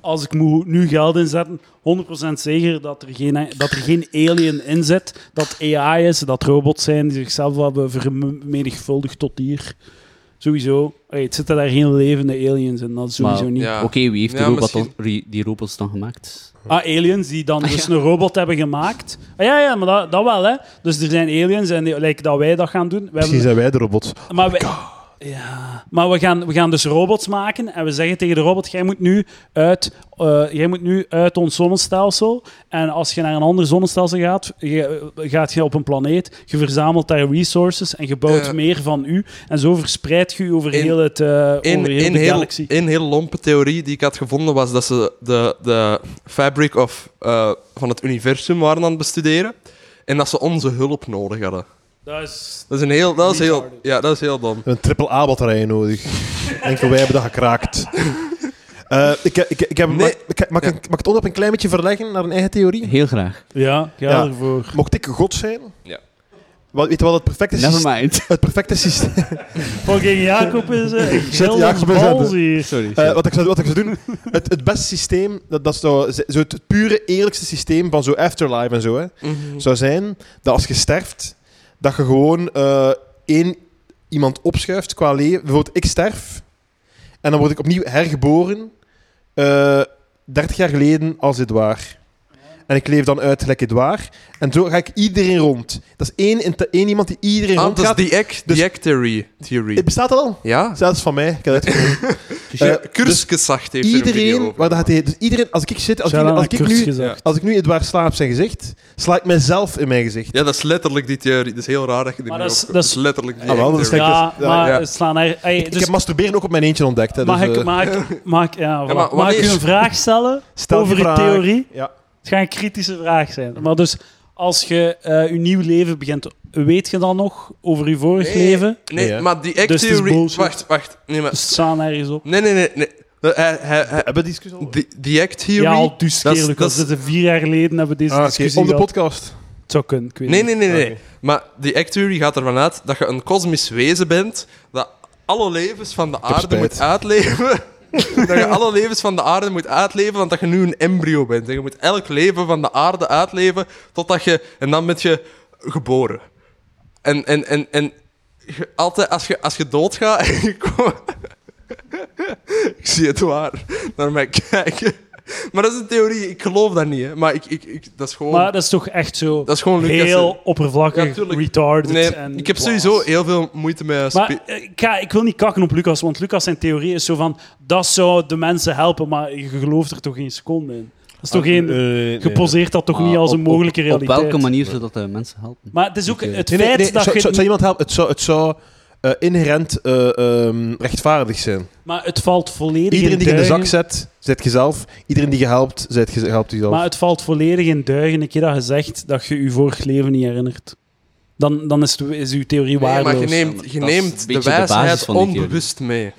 als ik moet nu geld inzetten, 100% zeker dat er, geen, dat er geen alien in zit, dat AI is, dat robots zijn die zichzelf hebben vermenigvuldigd tot hier. Sowieso. Hey, het zitten daar geen levende aliens in, dat is sowieso Maar- niet. Ja. Oké, wie heeft Ja, die, robot misschien. dan- ri- die robots dan gemaakt? Ah, aliens die dan dus een robot hebben gemaakt. Ah, ja, ja, maar dat, dat wel, hè. Dus er zijn aliens en die- like dat wij dat gaan doen. We hebben- Misschien zijn wij de robots. Maar, we, ja. maar we, gaan, we gaan dus robots maken en we zeggen tegen de robot: jij moet nu uit, eh, jij moet nu uit ons zonnestelsel. En als je naar een ander zonnestelsel gaat, je, eh, gaat je op een planeet. Je verzamelt daar resources en je bouwt Eh. meer van u. En zo verspreid je je over In- heel het eh over In, heel in, de heel, galaxie. in heel lompe theorie die ik had gevonden was dat ze de, de fabric of, eh, van het universum waren aan het bestuderen. En dat ze onze hulp nodig hadden. Dat is Dat is, een heel, dat is, heel, Retarded. ja, dat is heel dom. We hebben een triple A-batterij nodig. Enkel wij hebben dat gekraakt. Eh, ik, ik, ik heb, Nee. mag, ik- mag, ik- mag ik het onderwerp een klein beetje verleggen naar een eigen theorie? Heel graag. ja, ga Ja. ervoor. Mocht ik god zijn? Ja. Wat, weet je wat het perfecte systeem... Never mind. Het perfecte systeem... Fucking Jacob is eh, heel Jacob ons is aan de- bals hier. Sorry. Eh, wat, ik zou, wat ik zou doen, het, het beste systeem, dat, dat is zo, zo het pure eerlijkste systeem van zo afterlife en zo, hè, Mhm. zou zijn dat als je sterft, dat je gewoon eh, één iemand opschuift qua leven. Bijvoorbeeld, ik sterf en dan word ik opnieuw hergeboren eh 30 jaar geleden als Edouard. En ik leef dan uit gelijk Edouard. En zo ga ik iedereen rond. Dat is één, in- één iemand die iedereen Ah, dat rondgaat. is die egg, Dus- die egg theory. theory. Het bestaat al. Ja? Zelfs van mij. Ik heb het uitgevonden. Uh, eh, Kursgezacht heeft er een video iedereen, over waar dat gemaakt. gaat hij, dus iedereen, als ik zit, als, ik, Shout-out als, naar ik Kurt nu, gezegd. als ik nu Edouard sla op zijn gezicht, sla ik mezelf in mijn gezicht. Ja, dat is letterlijk die theorie. Dat is heel raar dat je er Maar nu dat is- op komt. dat Dat is- is letterlijk die Ah, wel, egg dat is theory. gek. Ja, Ja, maar ja. het slaan er. Hey, ik dus heb masturberen ook op mijn eentje ontdekt. Hè, mag, dus, ik, eh, mag, ik- mag, ik- ja, maar voilà. mag ik u wanneer- een vraag stellen stel over die uw vraag. theorie? Ja. Het gaat een kritische vraag zijn. Maar dus, als je eh, je nieuw leven begint, weet je dan nog over je vorig Nee, leven? Nee, Nee, hè? maar die egg Dus het is theory... bullshit. Wacht, wacht. Nee, maar... Dus het staan ergens op. Nee, nee, nee. nee. Dat- hij- hij- hij- Hebben we discussie over? Die, die egg theory... Ja, al dus dat is- eerlijk. dat Dat is- is vier jaar geleden hebben we deze Ah, oké, discussie op de gehad. podcast. Het zou kunnen, ik weet Nee, niet. nee, nee, nee. Oké. Maar die egg theory gaat ervan uit dat je een kosmisch wezen bent dat alle levens van de aarde spijt. moet uitleven. dat je alle levens van de aarde moet uitleven, want dat je nu een embryo bent. En je moet elk leven van de aarde uitleven totdat je... En dan ben je geboren. En, en, en, en je- altijd als je, als je doodgaat en je komt... ik zie het waar naar mij kijken. Maar dat is een theorie, ik geloof dat niet. Hè. Maar ik, ik, ik, dat is gewoon... Maar dat is toch echt zo Dat is gewoon Lucas, heel hè. oppervlakkig, Ja, tuurlijk. retarded. Nee, en ik heb dwaas. sowieso heel veel moeite met... spe- Maar eh, ik, ga, ik wil niet kakken op Lucas, want Lucas zijn theorie is zo van dat zou de mensen helpen, maar je gelooft er toch geen seconde in. Dat Ah, Ah, is toch geen... eh, eh, Je poseert dat toch niet als een Ah, Op- op- mogelijke realiteit? Op welke manier zou dat de mensen helpen? Maar het is ook Oké. het Nee, feit nee, nee, dat zou, je... zou, zou iemand helpen? Het zou, het zou eh, inherent eh, ehm, rechtvaardig zijn. Maar het valt volledig Iedereen in die je in de zak duigen. zet, zet jezelf. Iedereen die je helpt, zet je helpt jezelf. Maar het valt volledig in duigen. Een keer dat je zegt dat je je vorig leven niet herinnert. Dan, dan is, het, is uw theorie Nee, maar je waardeloos. Ja, neemt, maar je dat is neemt een de beetje de basis wijsheid van die theorie. onbewust mee.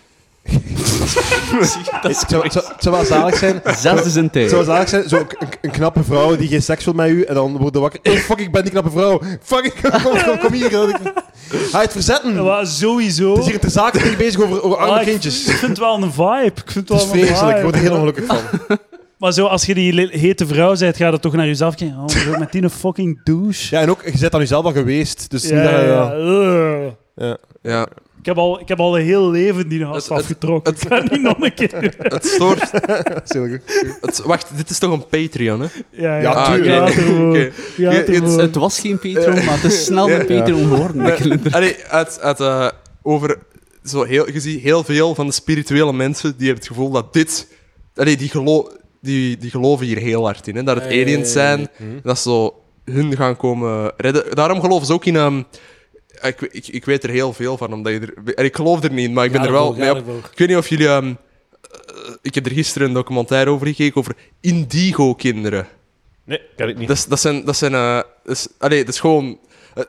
het, zou, het zou- het zou wel zalig zijn Zelfs is een tijd. Zoals eigenlijk zijn, zo een, een- een knappe vrouw die geen seks wil met u en dan wordt wakker. Hey, fuck, ik ben die knappe vrouw. Fuck, ik- kom, kom, kom hier. Ga je het verzetten? Ja, Het maar sowieso... is hier ter zake niet bezig over, over arme Ah, ik- kindjes. Ik vind het wel een vibe. Ik Het vind het wel is een vreselijk, ik vibe. word er heel ongelukkig van. Maar zo, als je die le- hete vrouw bent, ga je dat toch naar jezelf kijken. Oh, zo met die een fucking douche. Ja, en ook, je bent aan jezelf al geweest. Dus niet dat ja, je- ja. Ugh. Ja. Ik heb, al, ik heb al een heel leven die gast Het- het- afgetrokken. het- ik ga niet nog een keer doen. Het stoort... dat is heel goed. het, wacht, dit is toch een Patreon, hè? Ja, Ja, ja. ja, Ah, tuurlijk. ja, ervoor. Oké. Ja, Je- ervoor. Het was geen Patreon, maar het is snel een Ja. Patreon geworden. Dus eigenlijk. Allee, uit, uit, eh, over... Zo heel, je ziet heel veel van de spirituele mensen die hebben het gevoel dat dit... Allee, die, gelo die, die geloven hier heel hard in, hè? Dat het Ja, ja, ja, ja. Mhm. aliens zijn, dat ze zo hun gaan komen redden. Daarom geloven ze ook in... ehm, ik, ik, ik weet er heel veel van, omdat je er... en Ik geloof er niet in, maar ik ben Ga er wel ervoor, ga mee op ervoor. Ik weet niet of jullie ehm, eh, eh, ik heb er gisteren een documentaire over gekeken over indigo-kinderen. Nee, kan ik niet. Dat, is- dat zijn. Dat zijn eh, dat is, allee, dat is gewoon. eh,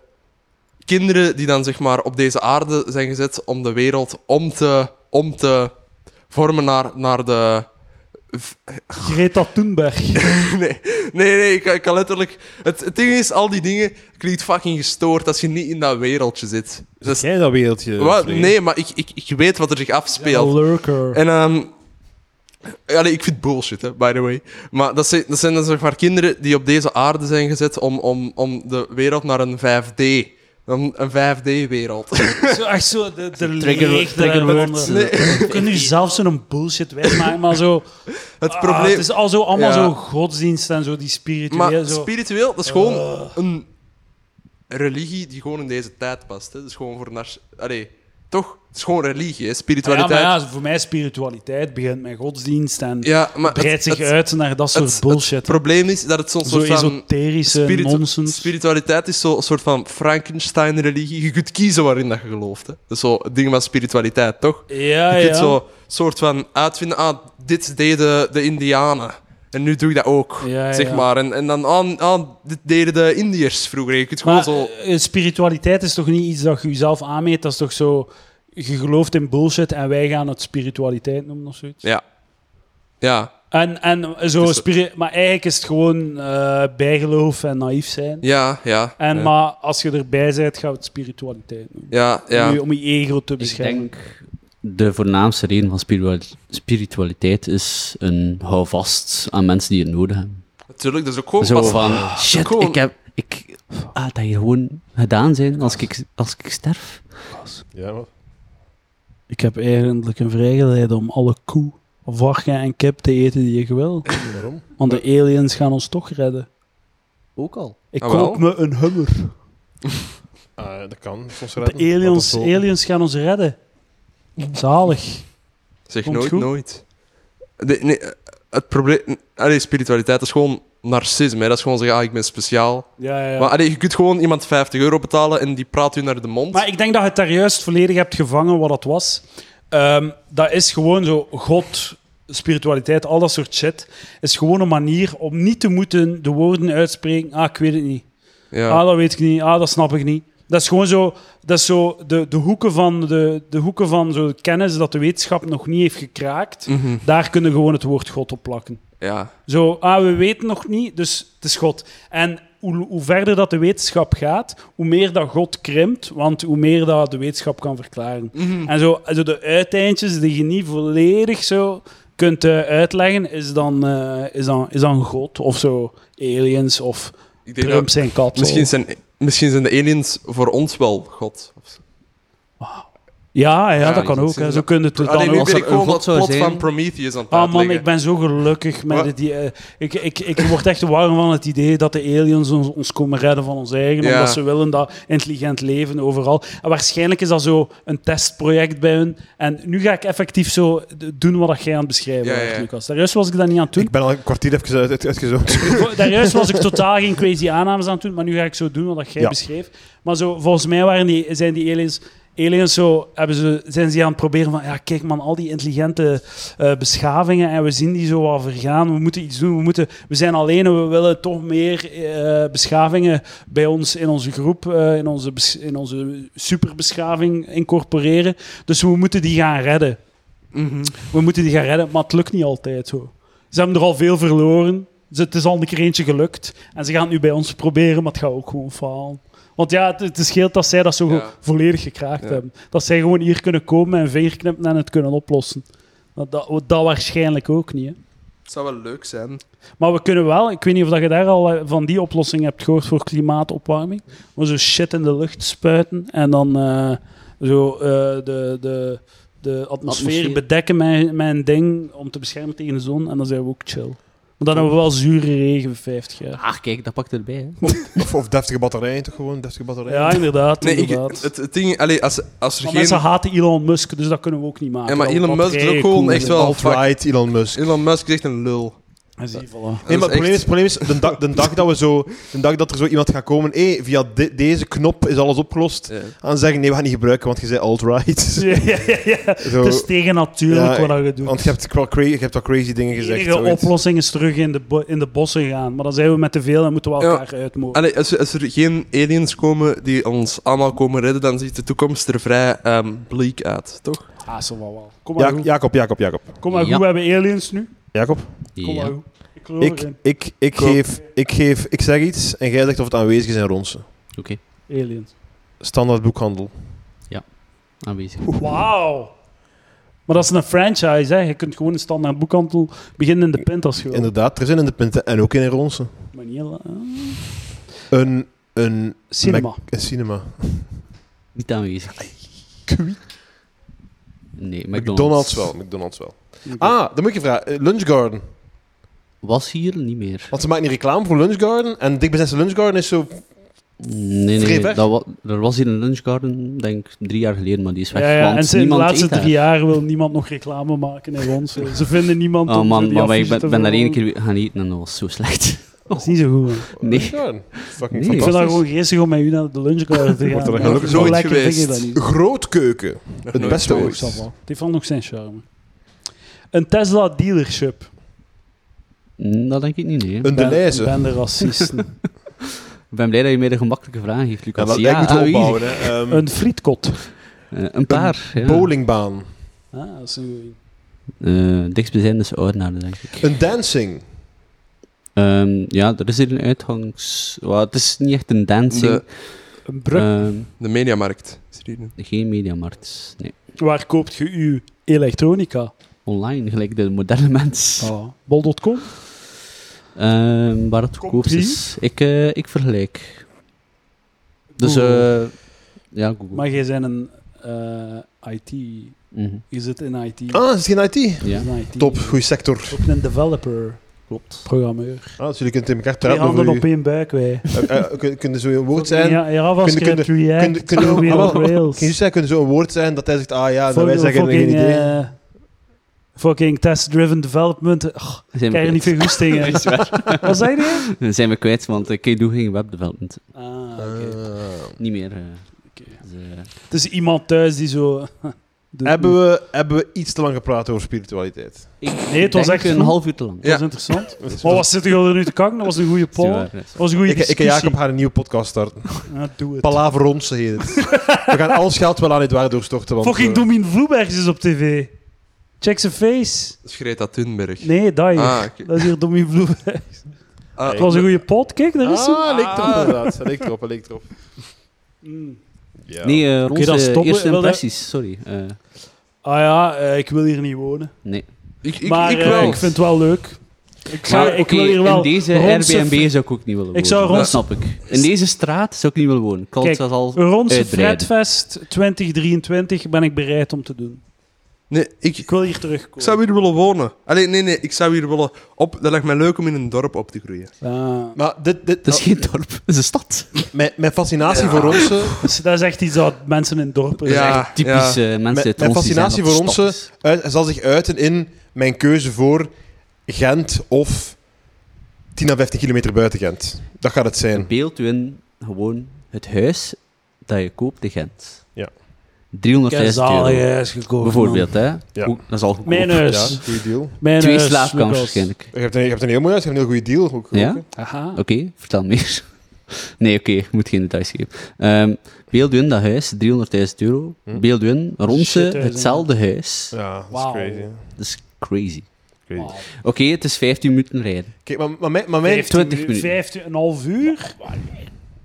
kinderen die dan zeg maar op deze aarde zijn gezet om de wereld om te, om te vormen naar, naar de. Greta Thunberg. Nee, nee, nee, ik, ik kan letterlijk. Het, het ding is, al die dingen klinkt fucking gestoord als je niet in dat wereldje zit. Dat is- Jij dat wereldje. Wat? Vlees. Nee, maar ik, ik, ik weet wat er zich afspeelt. Lurker. En ehm allee, ik vind bullshit, hè, by the way. Maar dat zijn, dat zijn dan zeg maar kinderen die op deze aarde zijn gezet om, om, om de wereld naar een 5D. Een, een 5D-wereld. Zo, echt zo, de, de Trigger- leegte trigger eronder. words. Nee. Je kunt nu zelf zo'n bullshit wegmaken, maar zo... Het ah, probleem. het is al zo, allemaal Ja. zo godsdienst en zo, die maar spiritueel. Zo. Ah. spiritueel, dat is gewoon een religie die gewoon in deze tijd past. Hè. Dat is gewoon voor naar. Allee, toch? Het is gewoon religie, hè. Ah ja, spiritualiteit. maar ja, voor mij spiritualiteit begint met godsdienst en Ja, maar het- breidt zich het- uit naar dat soort het- Het bullshit. probleem is dat het zo'n Zo soort van. esoterische Spiritu- eh, nonsens. Spiritualiteit is zo'n soort van Frankenstein-religie. Je kunt kiezen waarin dat je gelooft. Hè. Dat is zo het ding van spiritualiteit, toch? ja, je ja. kunt zo soort van uitvinden, ah, dit deden de Indianen. En nu doe ik dat ook, Ja, zeg ja. maar. En, en dan, ah, ah, dit deden de Indiërs vroeger. Je kunt gewoon Maar zo... eh, spiritualiteit is toch niet iets dat je jezelf aanmeet? Dat is toch zo... Je gelooft in bullshit en wij gaan het spiritualiteit noemen of zoiets? Ja. Ja. En, en zo, Dus- spiri- maar eigenlijk is het gewoon eh, bijgeloof en naïef zijn. Ja, ja. En, ja. Maar als je erbij bent, gaan we het spiritualiteit noemen. Ja, Om, ja. je, om je ego te Ik beschermen. denk de voornaamste reden van spirituali- spiritualiteit is een houvast aan mensen die het nodig hebben. Natuurlijk, dat is ook gewoon Zo Oh, pas- van, shit, gewoon- ik heb... Ik, ah, dat hier gewoon gedaan zijn als ik, als ik sterf. Ja, wat? Ik heb eigenlijk een vrijgeleide om alle koe, varken en kip te eten die ik wil. Waarom? Want de aliens gaan ons toch redden. Ook al. Ik Ah, wel. kook me een hummer. Ah, dat kan. Soms De redden. aliens, Laat dat zo. aliens gaan ons redden. Zalig. Zeg Komt nooit, goed. nooit. De- nee, eh, het probleem... Allee, spiritualiteit is gewoon narcisme. Hè. Dat is gewoon zeggen, ah, ik ben speciaal. Ja, ja. Maar Maar, allee, je kunt gewoon iemand 50 euro betalen en die praat u naar de mond. ik denk dat je het daar juist volledig hebt gevangen wat dat was. Ehm, dat is gewoon zo, God, spiritualiteit, al dat soort shit, is gewoon een manier om niet te moeten de woorden uitspreken. Ah, ik weet het niet. ja. Ah, dat weet ik niet. Ah, dat snap ik niet. Dat is gewoon zo, dat is zo de, de hoeken van, de, de hoeken van zo kennis dat de wetenschap nog niet heeft gekraakt. Mhm. Daar kunnen we gewoon het woord God op plakken. ja. Zo, ah, we weten nog niet, dus het is God. En hoe, hoe verder dat de wetenschap gaat, hoe meer dat God krimpt, want hoe meer dat de wetenschap kan verklaren. Mhm. En zo, zo de uiteindjes die je niet volledig zo kunt eh, uitleggen, is dan, eh, is, dan, is dan God of zo, aliens of Ik denk Trump dat, zijn kat. nou misschien, of- zijn, misschien zijn de aliens voor ons wel God. Of zo. Ja, ja, Ja, dat kan die ook. zijn hè. zo- Zo kunnen het dan Allee, nu ook. ben ik er een gewoon dat God zou plot zijn- van Prometheus aan het Ah man, uitleggen. ik ben zo gelukkig met Wat? dit. eh, ik, ik, ik word echt warm van het idee dat de aliens ons, ons komen redden van ons eigen. Ja. Omdat ze willen dat intelligent leven overal. En waarschijnlijk is dat zo een testproject bij hun. En nu ga ik effectief zo d- doen wat dat jij aan het beschrijven Ja, was, ja. Lucas. Daarjuist was ik dat niet aan het doen. Ik ben al een kwartier even uit, uit, uitgezocht. Vo- Daarjuist was ik totaal geen crazy aannames aan het doen, maar nu ga ik zo doen wat dat jij Ja. beschreef. Maar zo, volgens mij waren die, zijn die aliens, aliens zo, hebben ze, zijn ze aan het proberen van, ja kijk man, al die intelligente eh, beschavingen en we zien die zo al vergaan, we moeten iets doen, we, moeten, we zijn alleen en we willen toch meer eh, beschavingen bij ons in onze groep, eh, in, onze, bes- in onze superbeschaving incorporeren. Dus we moeten die gaan redden. Mhm. We moeten die gaan redden, maar het lukt niet altijd zo. Ze hebben er al veel verloren. Ze- Het is al een keer eentje gelukt. En ze gaan het nu bij ons proberen, maar het gaat ook gewoon falen. Want ja, het, het scheelt dat zij dat zo Ja. volledig gekraakt Ja. hebben. Dat zij gewoon hier kunnen komen en een vinger knippen en het kunnen oplossen. Dat, dat, dat waarschijnlijk ook niet. Hè. Het zou wel leuk zijn. Maar we kunnen wel, ik weet niet of dat je daar al eh, van die oplossing hebt gehoord voor klimaatopwarming. Maar zo shit in de lucht spuiten en dan eh, zo eh, de, de, de atmosfeer, Atmosfeer. bedekken met, met een ding om te beschermen tegen de zon. En dan zijn we ook chill. Want dan hebben we wel zure regen voor 50 jaar. Ah, kijk, dat pakt erbij, hè. Of, of deftige batterijen, toch gewoon? Deftige batterijen. Ja, inderdaad. Nee, ik, inderdaad. het, het ding... Allee, als, als er maar geen... mensen haten Elon Musk, dus dat kunnen we ook niet maken. Ja, maar Dat- Elon dat Musk is ook regen gewoon cool echt wel... fuck- Alt-right, Elon Musk. Elon Musk is echt een lul. En zie, voilà. Nee, maar het Dat is probleem, is, echt- het probleem is, de dag, de, dag dat we zo, de dag dat er zo iemand gaat komen, hé, via de- deze knop is alles opgelost, Ja. aan zeggen, nee, we gaan niet gebruiken, want je zei alt-right. Ja, ja, ja, ja. Zo, Het is tegen natuurlijk Ja, wat je doet. want je hebt, qua cra- je hebt al crazy dingen De gezegd. enige zoiets. oplossing is terug in de, bo- in de bossen gaan. Maar dan zijn we met te veel en moeten we Ja. elkaar uitmogen. Allee, als, als er geen aliens komen die ons allemaal komen redden, dan ziet de toekomst er vrij ehm, bleak uit, toch? Ah, zo wel wel. Kom maar Ja, goed. Jacob, Jacob, Jacob. Kom maar Ja. goed, we hebben aliens nu. Jacob? Kom maar Ja. goed. Ik geloof Ik, erin. ik, ik, Kom. geef, ik, geef, ik zeg iets en jij zegt of het aanwezig is in Ronsen. Aliens. Standaard boekhandel. Aanwezig. Wauw. Maar dat is een franchise, hè. Je kunt gewoon een standaard boekhandel beginnen in de Pintas gewoon. Inderdaad, er zijn in de punten en ook in Ronsen. Maar niet heel- eh, Een, een, Cinema. Mac- een cinema. Niet aanwezig. Nee, McDonald's. McDonald's wel, McDonald's wel. Ah, dan moet ik je vragen. eh, Lunch Garden. Was hier niet meer. Want ze maken niet reclame voor Lunch Garden. En dichtbijzijnse Lunch Garden is zo... Nee, nee, Vrij dat weg. wa- er was hier een lunchgarden, denk ik, drie jaar geleden, maar die is weg. Ja, ja, want en ze- in de niemand laatste eet daar. drie jaar wil niemand nog reclame maken in ons. Ze vinden niemand Oh om zo man, die maar wij- ik affiches ben, te ben daar één veranderen. keer weer gaan eten en dat was zo slecht. Dat is niet zo goed. hè. Lunch Nee. Garden. Fucking Nee. Ik vind dat fantastisch. gewoon geestig om met u naar de lunchkamer te gaan. er Ja, gelukkig zo nooit lekker vind je geweest. dat niet. Grootkeuken. Nog Het nooit beste gehoord. ooit. zal wel. Die valt nog zijn charme. Een Tesla dealership. Mm, Dat denk ik niet, nee. Een Mm. ben, Deleuze. ben de racisten. Ik ben blij dat je mij de gemakkelijke vraag Ja, geeft, Lucas. dat lijkt moeten we aanwezig. opbouwen. Hè. Ehm, ah, een frietkot. Eh, een paar, ja. bowlingbaan. Ah, dat is een goeie. Eh, dichtstbijzijn is Oudenaarde, denk ik. Een dancing. Ehm, ja, er is hier een uitgangs... Wel, het is niet echt een dancing. De, Een brug. Ehm, de mediamarkt is hier nu. geen mediamarkt. Nee. Waar koopt je uw elektronica? Online, gelijk de moderne mens. Ah, Bol.com? Ehm, waar het goedkoop Compris. is. Ik, eh, ik vergelijk. Dus, Google. eh ja, Google. Maar jij bent een eh, IT. Mhm, Je zit in IT. Je Ah, is het geen IT? ja. zit in IT. Top, goede sector. Ook een developer. Klopt. Programmeur. Ah, dus jullie kunnen in elkaar Twee praten handen over op je... één buik, wij. eh, eh, kun- Kunnen zo een woord zijn... Ja, JavaScript, Kunnen- React, kunnen- kunnen- Ruby on allemaal- Rails. Kun je zeggen, kunnen zo een woord zijn dat hij zegt, ah ja, en dan Fucking- wij zeggen, geen fucking, idee. eh, fucking test-driven development. Ach, Zijn ik krijg er we niet veel goed in. kwijt. Wat zei je? Zijn we kwijt, want eh, ik doe geen webdevelopment. Ah, oké. Ah. Niet meer. eh, Oké. dus, eh, Het is iemand thuis die zo... doet Dus- Hebben we, hebben we iets te lang gepraat over spiritualiteit? ik Nee, het was denk echt een goed. half uur te lang. Dat Ja. was interessant. Maar wat zit er nu te kakken? Dat was een goede poll. Ja, Dat was een goede Ik, ik en discussie. Jacob gaan een nieuwe podcast starten. Ja, doe het. Palaver Ronse heet het. We gaan alles geld wel aan Eduardo storten. Want, Fucking eh, Domien Vloebergs is op tv. Check zijn face. Dat is Greta Thunberg. Nee, dat hier. Ah, oké. Dat is hier Domien Vloebergs. Ah, Het was een goede pot. Kijk, daar is hij. Ah, leek erop inderdaad. Hij leek erop, hij leek erop. Mm. Ja. Nee, eh Ronse, dan stoppen. eerste Wil dat- impressies, sorry. Eh, Ah ja, eh, ik wil hier niet wonen. nee. ik, ik, maar ik eh, wel. ik vind het wel leuk. Ik, zou, Maar ik wil oké, hier wel in deze Ronse- Airbnb zou ik ook niet willen wonen. Ik zou Dat Ronse- snap ik. In deze straat zou ik niet willen wonen. Ik kan Kijk, het zelfs al Ronse uitbreiden. Fredfest 2023 ben ik bereid om te doen. Nee, ik, Ik wil hier ik terugkomen. zou hier willen wonen. Allee, nee, nee, ik zou hier willen... Op, dat lijkt mij leuk om in een dorp op te groeien. Ah, Maar dit, dit, nou, Het is geen dorp, het is een stad. mijn, mijn fascinatie voor Ronse dus dat is echt iets dat mensen in dorpen Ja. zeggen. Typisch eh, mensen Mijn- uit Ronse mijn die fascinatie zeggen dat voor het stad Ronse- uit, zal zich uiten in mijn keuze voor Gent of 10 à 15 kilometer buiten Gent. Dat gaat het is. zijn. Beeld u in gewoon het huis dat je koopt in Gent. Ja. Ik 350 heb euro. zalig huis gekocht. man. Bijvoorbeeld, hè. Ja. Hoe- dat is al goedkoop. eh, Mijn Ja, huis. goede deal. Mijn Twee huis, slaapkamers Lucas. waarschijnlijk. Je hebt, een, je hebt een heel mooi huis, je hebt een heel goede deal. Ook, Ja? ook, hè. Aha. Oké, vertel meer. Nee, oké, ik moet geen details geven. Ehm beeld u in dat huis, 300.000 euro. Hm? Beeld u in, Ronse, Shit, eh, huis, hetzelfde huis. ja dat is Wauw. crazy. hè. Dat is crazy. Crazy. Wow. Oké, het is 15 minuten rijden. Kijk, maar, maar, mijn, maar mijn... 15 20 minuten. minuten. 15, een half uur?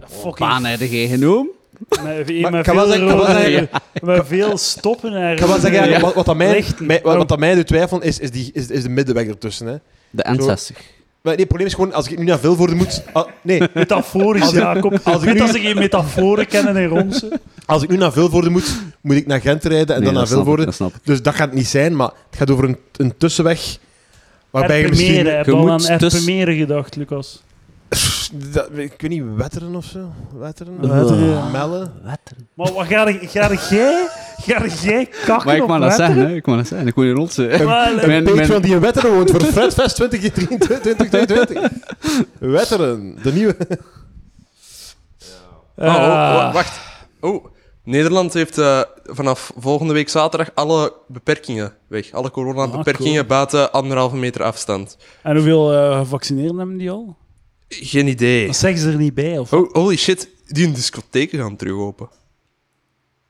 Fucking. Baan heb jij genomen? Met, Maar met, kan wel veel zeggen- kan wel rode- zeggen- met veel stoppen. en- Ik kan wel zeggen, Ja. Oh. wat, wat, dat mij, Lichten. mij- wat, wat dat mij doet twijfelen is, is, die, is, is de middenweg ertussen. Hè. De N60. Maar nee, het probleem is gewoon, als ik nu naar Vilvoorde moet... ah, nee, Metaforisch, Als ik- Jacob. als ik Weet nu- dat ze geen metaforen kennen in Ronsen. als ik nu naar Vilvoorde moet, moet ik naar Gent rijden en dan Nee, naar dat snap ik, Vilvoorde. Dat snap ik. Dus dat gaat het niet zijn, maar het gaat over een, een tussenweg waarbij je misschien... Erpenmeren, heb Je al moet aan dus- Erpenmeren gedacht, Lucas. Dat- ik weet Ah. niet, wetteren of zo? Wetteren? Wetteren, ja. Mellen? Maar wat ga ik- ga ik jij... Ga jij kakken Maar ik op mag dat wetten? zeggen, hè. Ik mag dat zeggen. Ik moet je rotsen. Maar, eh, Mijn- mijn- Patreon die in Wetteren woont voor Fredfest 2023. Wetteren, de nieuwe. Oh, oh, eh, wa- wacht. Oh, Nederland heeft eh, vanaf volgende week zaterdag alle beperkingen weg. Alle Ah, coronabeperkingen cool. buiten anderhalve meter afstand. En hoeveel eh gevaccineerden hebben die al? Geen idee. Dat zeggen ze er niet bij, of? Oh, holy shit, die hun discotheken gaan terug open.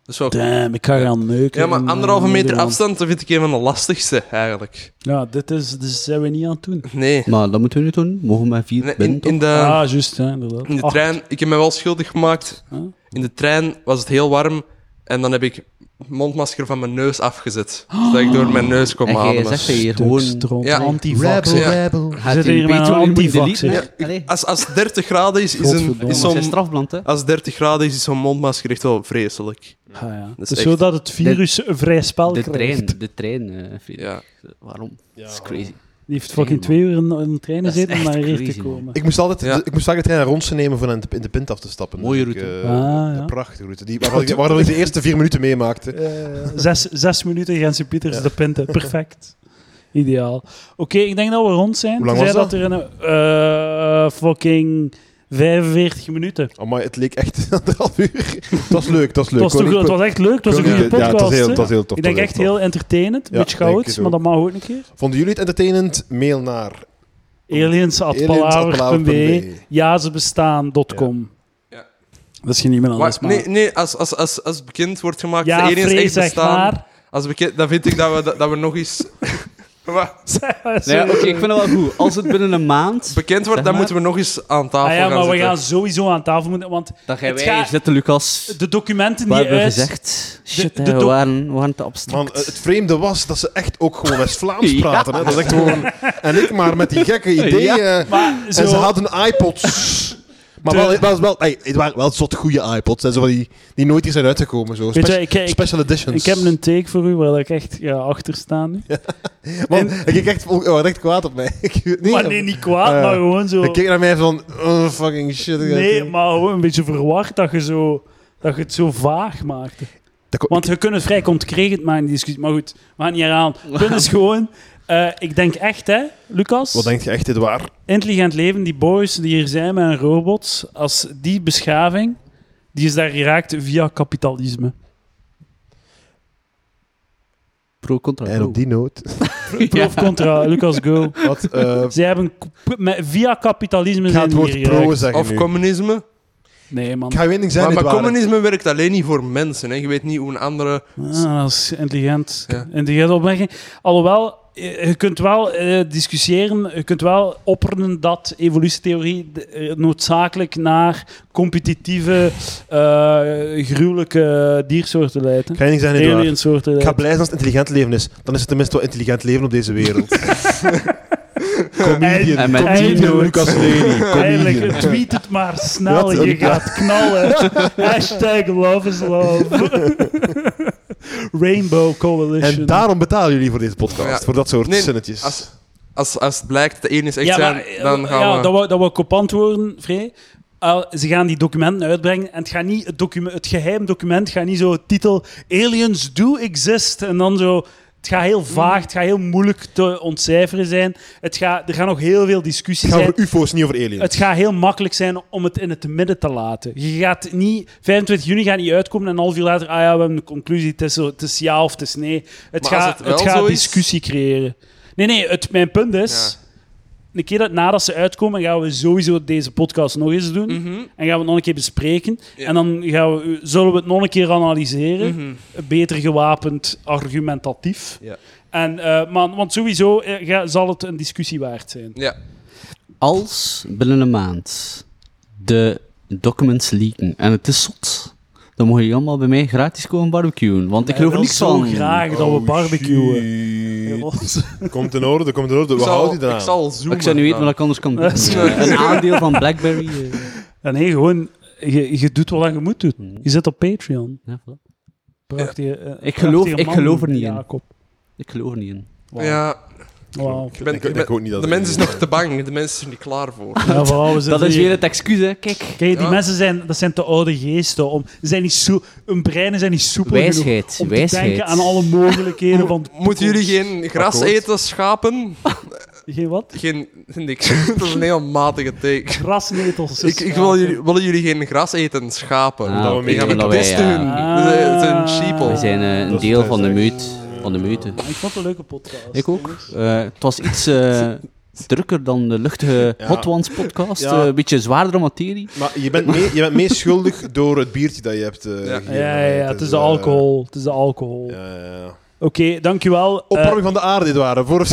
Dat is wel cool. Damn, ik ga gaan neuken. Ja, maar in, eh, anderhalve meter Nederland. afstand, dat vind ik een van de lastigste eigenlijk. Ja, dit is, dit zijn we niet aan het doen. Nee. Maar dat moeten we nu doen. Mogen we maar vier Nee, binnen, In, in de, ah, juist, hè, inderdaad. Eh, in de Acht. trein, ik heb me wel schuldig gemaakt. Huh? In de trein was het heel warm en dan heb ik mondmasker van mijn neus afgezet. Zodat ik door mijn neus kon En jij ademen. zegt dat je hier Stuk gewoon... stront, Ja. antivax. Rebel, Ja. rebel. Gaat Zit die hier met een Patreon moeten antivaxer? deleten? Allee. Als, als 30 graden is, is, een, Godverdomme, Soms is zijn zo'n... strafblad, hè. Als 30 graden is, is zo'n mondmasker echt wel vreselijk. Ah, ja. is Dus echt- zodat het virus een vrij spel De krijgt. trein, de trein, eh, vind ik. Ja. Waarom? Dat is crazy. Die heeft fucking Trein, twee uur in in de trein Dat is gezeten om echt naar hier crazy, te man. komen. Ik moest altijd, Ja. ik moest vaak de trein naar Ronsen nemen voor in de, in de pint af te stappen. Mooie Dus ik, route. eh, Ah, ja. Een prachtige route. Die, waarvan, ik, waarvan ik de eerste vier minuten meemaakte. Eh, Zes, zes minuten Jensen Pieters de pinten. Perfect. Ideaal. Oké, ik denk dat we rond zijn. Hoe lang Tenzij was dat? er een eh, fucking 45 minuten. Amai, het leek echt anderhalf uur. Het was leuk, het was leuk. Het was, toch- het was echt leuk. Het was een Koning- goede Ja, het podcast. was heel, hè. het was heel tof. het ik denk was echt tof. heel entertainend. Ja, beetje denk goud, het ook. maar dat mag ook een keer. Vonden jullie het entertainend? Mail naar aliens.palaver.be Ja, ze bestaan.com. Ja. Dat is geen e-mail Maar, anders, maar... nee, nee als, als, als, als bekend wordt gemaakt ja, dat de aliens Free, echt zeg bestaan, maar. als bekend, dan vind ik dat we, dat, dat we nog eens... Wat? Nee, oké, ik vind het wel goed. Als het binnen een maand... bekend Zeg wordt, dan maar. moeten we nog eens aan tafel Ah ja, gaan maar we zitten. gaan sowieso aan tafel moeten, want Dan gaan Het wij gaat- hier zitten, Lucas. de documenten We die hebben uit... gezegd... Shit, de hè, we doc- waren, we waren te abstract. Man, het vreemde was dat ze echt ook gewoon West-Vlaams Ja. praten. Hè? Dat is echt gewoon... En ik maar met die gekke ideeën. Maar zo, En ze hadden iPods. Maar De- wel, wel, wel, nee, het waren wel zot goede iPods. Hè, zo van die, die nooit hier zijn uitgekomen. Zo. Weet je, Spec- ik- ik- special editions. ik heb een take voor u waar ik echt ja, achter sta nu. Man, hij keek echt, vol- hij werd echt kwaad op mij. ik, weet niet, maar nee, niet kwaad, Ah, ja. maar gewoon zo... Hij keek naar mij van... Oh, fucking shit. ik- Nee, ik- maar gewoon een beetje verward dat je, zo, dat je het zo vaag maakt. Dat kon- Want we kunnen het vrij concreet maken, die discussie. Maar goed, we gaan niet herhalen. Het punt is gewoon... eh, ik denk echt, hè, Lucas? Wat denk je echt, dit waar? Intelligent leven, die boys die hier zijn met een robot, als die beschaving, die is daar geraakt via kapitalisme. Pro contra En op die noot... Pro of contra, Lucas, go. Wat, eh, Zij hebben k- p- met- via kapitalisme ik ga zijn het die woord hier pro geraakt. zeggen Of nu. communisme. Nee, man. Ik ga je één ding Maar, zeggen, maar dit waar. communisme werkt alleen niet voor mensen. Hè. Je weet niet hoe een andere... Ah, dat is intelligent. Ja. Intelligente opmerking. Alhoewel, eh, je kunt wel eh, discussiëren, je kunt wel opperen dat evolutietheorie de- eh, noodzakelijk naar competitieve, eh, gruwelijke diersoorten leidt. hè. Ik ga je één ding zeggen, dit waar. Aliensoorten Ik ga leidt. blij zijn als het intelligent leven is. Dan is het tenminste wel intelligent leven op deze wereld. comedian. En met Eindelijk. comedian Lucas Lely. Comedian. Eigenlijk, eh, tweet het maar snel, Wat je een- gaat knallen. Hashtag love is love. Rainbow Coalition. En daarom betalen jullie voor deze podcast. Ja. Voor dat soort Nee, zinnetjes. als- Als, als het blijkt dat de ene is echt maar, eh, zijn, dan gaan ja, we... dat wou, dat wou ik op antwoorden, Vrij. Eh, ze gaan die documenten uitbrengen en het, gaat niet, het, document, het geheim document gaat niet zo titel Aliens do exist en dan zo... Het gaat heel vaag, het gaat heel moeilijk te ontcijferen zijn. Het gaat, er gaan nog heel veel het discussies gaat zijn. over UFO's, niet over aliens. Het gaat heel makkelijk zijn om het in het midden te laten. Je gaat niet... 25 juni gaat niet uitkomen en een half uur later... Ah ja, we hebben de conclusie, het is, zo- het is ja of het is nee. Het Maar als gaat, het het wel zo gaat is- discussie creëren. Nee, nee, het, mijn punt is... Een keer dat, nadat ze uitkomen, gaan we sowieso deze podcast nog eens doen. Mhm. En gaan we het nog een keer bespreken. Ja. En dan gaan we, zullen we het nog een keer analyseren. Mhm. Beter gewapend, argumentatief. Ja. En, eh, maar, want sowieso eh, ga- zal het een discussie waard zijn. Ja. Als binnen een maand de documents leaken en het is zot, dan mogen jullie allemaal bij mij gratis komen barbecuen. Want ik Wij geloof er wel niks Eh, zo van. graag dat we Oh, barbecuen. shit. Jawel. Komt in orde, komt in orde. Ik We zal, houden die ik eraan. zal zoomen. Ik zou nu weten wat dan. ik anders kan doen. Dat is Eh, Een aandeel van Blackberry. eh. Ja, nee, gewoon, je, je doet wat je moet doen. Je zit op Patreon. Ja, voilà. Prachtige, eh, Mhm. Ik geloof- prachtige ik geloof er man, niet in. Jacob. Ik geloof er niet in. Wauw. Ja, Wauw. Ik, ben- ik, ik ben- denk ook niet dat De er- mens is nog te bang, de mens is er niet klaar voor. Ja, vooral, we Dat zitten is hier- weer het excuus, hè. Kijk. Kijk, die Ja. mensen zijn, dat zijn te oude geesten. Om, ze zijn niet zo, hun breinen zijn niet soepel genoeg Wijsheid, om te wijsheid. denken aan alle mogelijkheden van... de Moeten jullie toekomst. geen gras Akkoord. eten, schapen? Geen wat? Geen, niks. Dat is een heel matige teken. Grasnetels. Ik, ik wil jullie, willen jullie geen gras eten, schapen? Ah, Dan oké, gaan met omdat wij, pesten hun, ja. de- de- hun Ah. sheeple. We zijn eh, Dat een is deel thuis, van de hè. meute. Van de meute. Ik vond het een leuke podcast. Ik ook. Eh, het was iets eh, drukker dan de luchtige Ja. Hot Ones podcast. Ja. eh, een beetje zwaardere materie. Maar je bent, mee, je bent mee schuldig door het biertje dat je hebt eh, Ja. gegeven. Ja, ja, ja, het is de eh, alcohol. Het is de alcohol. ja, ja, ja. Oké, dankjewel. Eh, Opwarming van de aarde, dit waren. Voor...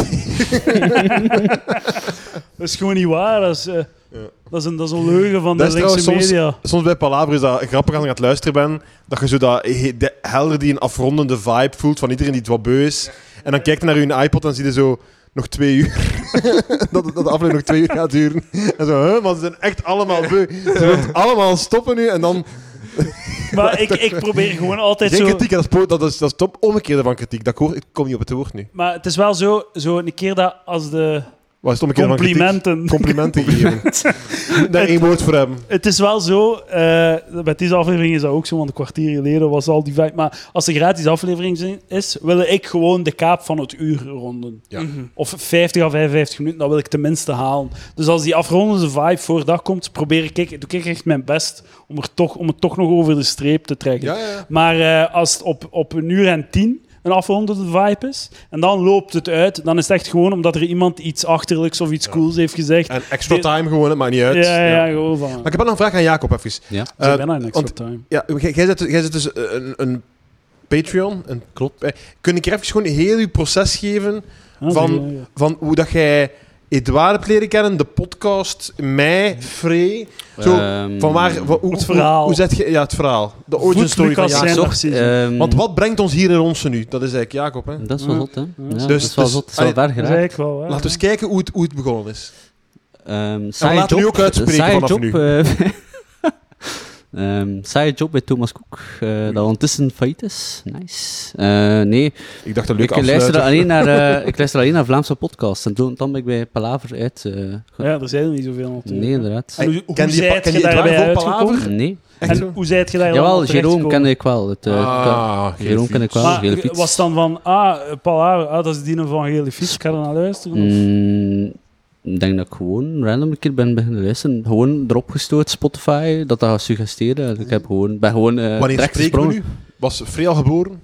dat is gewoon niet waar. Dat is, eh, Ja. dat is, een, dat is een leugen van Dat de is linkse trouwens soms- media. Soms bij Palaver is dat grappig als ik aan het luisteren ben, dat je zo dat he- de- helder die een afrondende vibe voelt van iedereen die het wat beu is. En dan kijkt je naar je iPod en zie je zo nog twee uur. dat, dat de aflevering nog twee uur gaat duren. En zo, hè, maar ze zijn echt allemaal beu. Ze willen allemaal stoppen nu en dan... Maar ik, ik probeer gewoon altijd Geen zo... kritiek, dat is, po- dat is, dat is top omgekeerde van kritiek. Dat ik, hoor, ik kom niet op het woord nu. Maar het is wel zo, zo een keer dat als de Wat is het omgekeerde van kritiek? complimenten... Complimenten gegeven. Daar één woord voor hebben. Het is wel zo, eh met deze aflevering is dat ook zo, want een kwartier geleden was al die vijf. Maar als er gratis aflevering zijn- is, wil ik gewoon de kaap van het uur ronden. Ja. Mhm. Of 50 à 55 minuten, dat wil ik tenminste halen. Dus als die afrondende vibe voor dag komt, probeer ik, doe ik echt mijn best om, er toch, om het toch nog over de streep te trekken. Ja, ja. Maar eh, als het op, op een uur en tien een afrondende vibe is, en dan loopt het uit, dan is het echt gewoon omdat er iemand iets achterlijks of iets cools heeft gezegd. En extra time gewoon, het maakt niet uit. ja, Ja. ja, gewoon van... Maar ik heb wel nog een vraag aan Jacob even. Ja. Ik Eh, ben aan extra want- time. ja, jij- jij zet, jij zet dus eh, een, een Patreon. Een, Klopt. kun ik er even gewoon heel uw proces geven Ah, van- ja, ja. van hoe dat jij Edouard hebt leren kennen, de podcast, mij, Free. Zo, Ehm, van waar, wa- hoe, Het verhaal. Hoe, hoe zet je, ja, het verhaal. De origin Voet story van Lucas Jacob. zijn- zocht, precies. ehm, Want wat brengt ons hier in onze nu? Dat is eigenlijk Jacob, hè? Dat is wel zot, hè? Ja, Dus- dat is wel dus- zot. Dat allee, is wel ver Dat is geraakt. eigenlijk wel waar, Laten we eens kijken hoe het, hoe het begonnen is. Ehm saaie laten we job, nu ook uitspreken saaie vanaf job, nu. eh, ehm, saaie job bij Thomas Cook, eh, dat ondertussen failliet is. Nice. Eh, nee, Ik dacht een ik leuke luister, afsluiter. alleen naar, eh, ik luister alleen naar Vlaamse podcasts. En toen, dan ben ik bij Palaver uit. eh, hè. Ja, er zijn er niet zoveel natuurlijk. nee, inderdaad. En hoe, hoe Ken die- zijt ken je die daarbij Edouard van uitgekomen? Nee. Echt En zo? hoe zijt je daar Jawel, allemaal Jeroen terechtgekomen? ken ik wel. Het, eh, Ah, Jeroen geen ken ik wel. fiets. Ah, gele Maar fiets. was dan van, ah, eh, Paul Haar, ah, dat is die van Gele Fiets, ik ga er naar luisteren. of- Mm, Ik denk dat ik gewoon random een keer ben beginnen luisteren. Gewoon erop gestoord, Spotify, dat dat gaat suggesteren. Dus Ik heb gewoon, ben gewoon eh Wanneer direct spreken we gesprongen. nu? Was Free al geboren?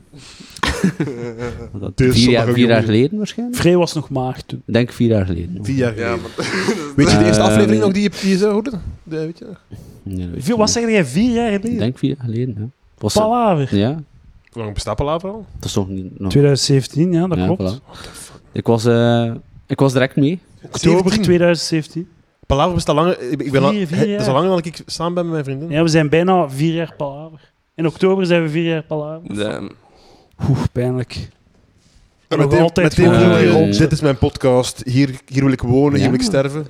Dat Deze vier jaar, zondag ook vier jaar jongen. geleden waarschijnlijk? Frey was nog maagd toen. Ik denk vier jaar geleden. Tien jaar Ja, geleden. maar Weet je de eerste Ehm, aflevering nog die je, die je zou horen? De, weet je? Nee, dat weet Vier- ik Wat niet. zeg jij, vier jaar Ik geleden? denk vier jaar geleden. Hè. Was dat- Paul Haar. Ja, Hoe lang bestaat Palaver al? dat is nog niet... Nog, 2017, ja, dat ja, klopt. voilà. Ik, was, eh, ik was direct mee. Oktober 2017. Palaver bestaat langer. Ik ik ben al- Vier- vier Hè, jaar. Dat is al langer dan ik samen ben met mijn vriendin. Ja, we zijn bijna vier jaar Paul Haar. In oktober zijn we vier jaar Paul Haar. Damn. Oeh, pijnlijk. En Nog meteen, altijd meteen gewoon voel je, eh, oh, eh, dit is mijn podcast. Hier, hier wil ik wonen, Ja. hier wil ik sterven.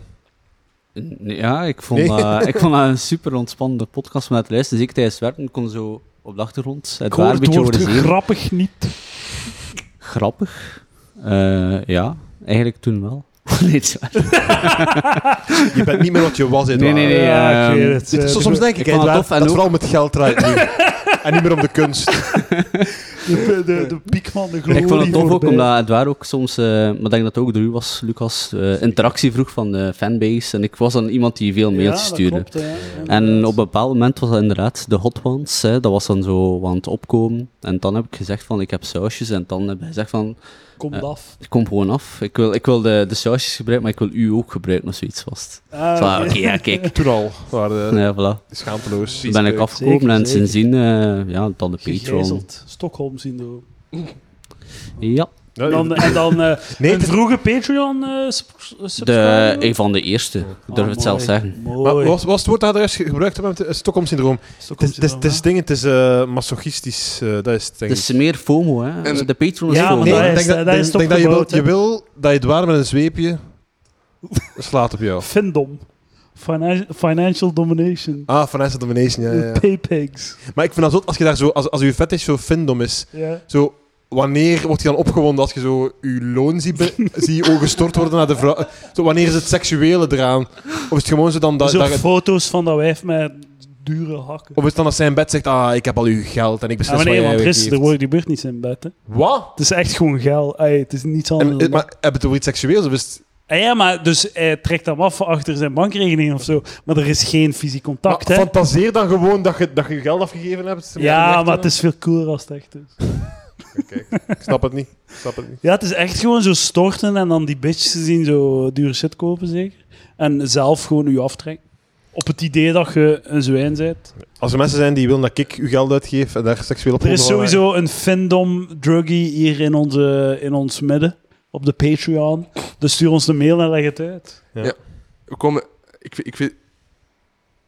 Ja, ik vond, Nee. eh, ik vond dat een super ontspannende podcast om naar te luisteren. Zeker tijdens het werken kon zo op de achtergrond. Het Ik waren hoor een het beetje woord over de zeven. grappig niet. Grappig. Eh, ja, eigenlijk toen wel. nee, het is waar. Je bent niet meer wat je was, nee, Edouard. nee. nee Ja, ik ehm, weet het. Dit is- Eh, soms denk ik, ik vond het Edouard, tof en dat ook- vooral met geld draait nu. en niet meer om de kunst. De, de, de piek van de En glorie. ik vond het tof ook, voorbij. omdat het waar ook soms, eh, maar ik denk dat het ook door u was, Lucas, eh, interactie vroeg van de fanbase. En ik was dan iemand die veel Ja, mailtjes dat stuurde. klopt, ja, inderdaad. En op een bepaald moment was dat inderdaad de hot ones. Hè, dat was dan zo aan het opkomen. En dan heb ik gezegd van, ik heb sausjes. En dan heb ik gezegd van, Komt Ja. af. ik kom gewoon af. Ik wil, ik wil de, de sausjes gebruiken, maar ik wil u ook gebruiken of zoiets vast. Ah, Zo, oké. Oké, ja, kijk. Toen al. Maar, eh, Ja, voilà. Schaamteloos. Toen ben ik afgekomen Zeker, en zeker. sindsdien, eh, ja, dan de Patreon. Gegijzeld. Stockholm-syndroom. Ja, Ja, En dan, en dan eh, nee, een het- vroege eh, Patreon-subscriber. de, een van de eerste, Oh, ik durf het zelf zeggen. maar Oh, Mooi. was, was het woord dat je juist gebruikt hebt? Het Stockholm-syndroom. Het is- het is- het is dingen, het is eh, masochistisch. eh, dat is het, denk Het ik. is meer FOMO, hè. En- de Patreon is Ja, FOMO. maar ik daar is- denk dat, daar is denk- het op denk dat je, gebouwd, wilt, je wil dat je het waar met een zweepje slaat op jou. Findom. Finan- financial domination. Ah, Financial Domination, ja, ja, ja. Paypigs. Maar ik vind dat zo, als je daar zo, als, als je vet is, zo findom is. Ja. Zo, wanneer wordt je dan opgewonden als je zo je loon ziet, be- zie je ogen gestort worden naar de vrouw? Zo, wanneer is het seksuele eraan? Of is het gewoon zo dan dat... Zo dat het- Dus foto's van dat wijf met dure hakken. of is het dan dat zijn bed zegt, ah, ik heb al uw geld en ik Ja, beslis maar nee, wat want jij er is- er weggeeft. wordt gebeurt niets in bed. Hè. Wat? Het is echt gewoon geil. Ey, het is niets anders. En, dan maar hebben we het over iets seksueels? Of is het- Ah ja, maar dus hij trekt hem af van achter zijn bankrekening of zo. Maar er is geen fysiek contact, Maar hè? fantaseer dan gewoon dat je, dat je geld afgegeven hebt. Ja, maar het is veel cooler als het echt is. Ik snap het niet. Ik snap het niet. Ja, het is echt gewoon zo storten en dan die bitches te zien zo dure shit kopen, zeker. En zelf gewoon u aftrekken. Op het idee dat je een zwijn bent. Als er mensen zijn die willen dat ik uw geld uitgeef en daar seksueel op Er is worden van- sowieso een fandom druggie hier in, onze, in ons midden. Op de Patreon. Dus stuur ons een mail en leg het uit. We komen... Ik, ik vind...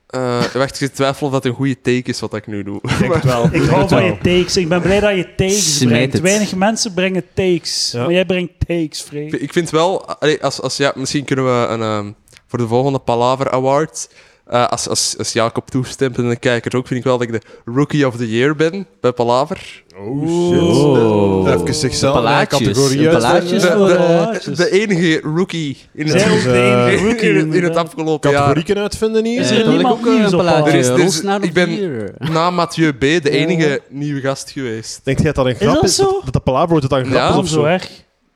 eh wacht, ik twijfel of dat een goede take is wat ik nu doe. Ik denk het wel. Ik hou van je takes. Ik ben blij dat je takes Smijt brengt. het. Weinig mensen brengen takes. Ja. Maar jij brengt takes, Freek. Ik vind- Ik vind wel, allee, als, als, ja, misschien kunnen we een, ehm, voor de volgende Palaver Award, eh, als, als, als Jacob toestemt en de kijkers ook, vind ik wel dat ik de Rookie of the Year ben bij Palaver. Oh shit. Oh. Even zichzelf in een Palaatjes. categorie uit. De, Palaatjes. eh, voor de de, Palaatjes. de enige rookie in het, Zij in, ook de enige in- rookie, eh, in het- in het inderdaad. afgelopen jaar. Categorieken uitvinden hier. Is Eh, er dat niemand ik ook, eh, nieuws een op plaatje. had? Er is- er is- Roosnaar op ik ben- vier. Na Mathieu B, de enige nieuwe gast geweest. Denkt jij dat dat een grap is? dat zo? Dat, dat de palaver dat dat een grap Ja. is Waarom of zo zo? erg?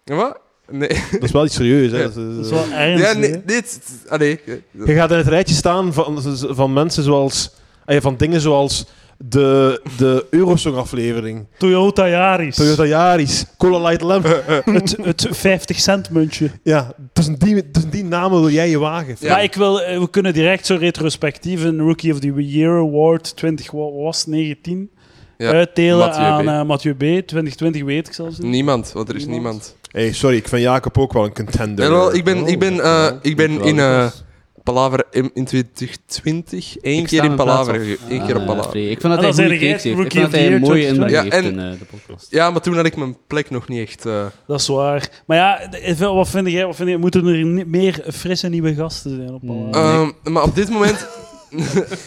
Ja, Wat? Nee. Dat is wel iets serieus. Hè? Ja. Dat is, eh, Dat is wel Ja, ernstig. hè? nee, dit... Allee. eh, Je gaat in het rijtje staan van, van mensen zoals... eh, Van dingen zoals de, de Eurosong-aflevering, Toyota Yaris. Toyota Yaris, Cola Light Lamp. Het, het 50 cent muntje. Ja, tussen die, tussen die namen wil jij je wagen. Ja. Maar ik wil, eh, we kunnen direct zo retrospectief een Rookie of the Year Award 20 wa- was 19 Ja, uitdelen Mathieu aan B. eh, Mathieu B. 2020 weet ik zelfs niet. Niemand, want er is Niemand. niemand. Hey, sorry, ik vind Jacob ook wel een contender. Jawel, ik ben- ik ben, Oh, dankjewel. eh, ik ben Dankjewel, in, eh, Lucas. Palaver in, in 2020. Eén Ik keer sta in met plaats Palaver. af. Eén keer op Ah, Palaver. Free. Ik vind En dat hij dan een zeg ik goede cakes eerst heeft. Ik Rookie vind of dat the hij een Year mooie inbreng 2020. heeft Ja, in eh, de podcast. Ja, maar toen had ik mijn plek nog niet echt. eh, Dat is waar. Maar ja, de- eh, wat vind jij? Wat vind jij moeten er ni- meer frisse nieuwe gasten zijn op Mm. Hmm. Palaver? ehm, maar op dit moment.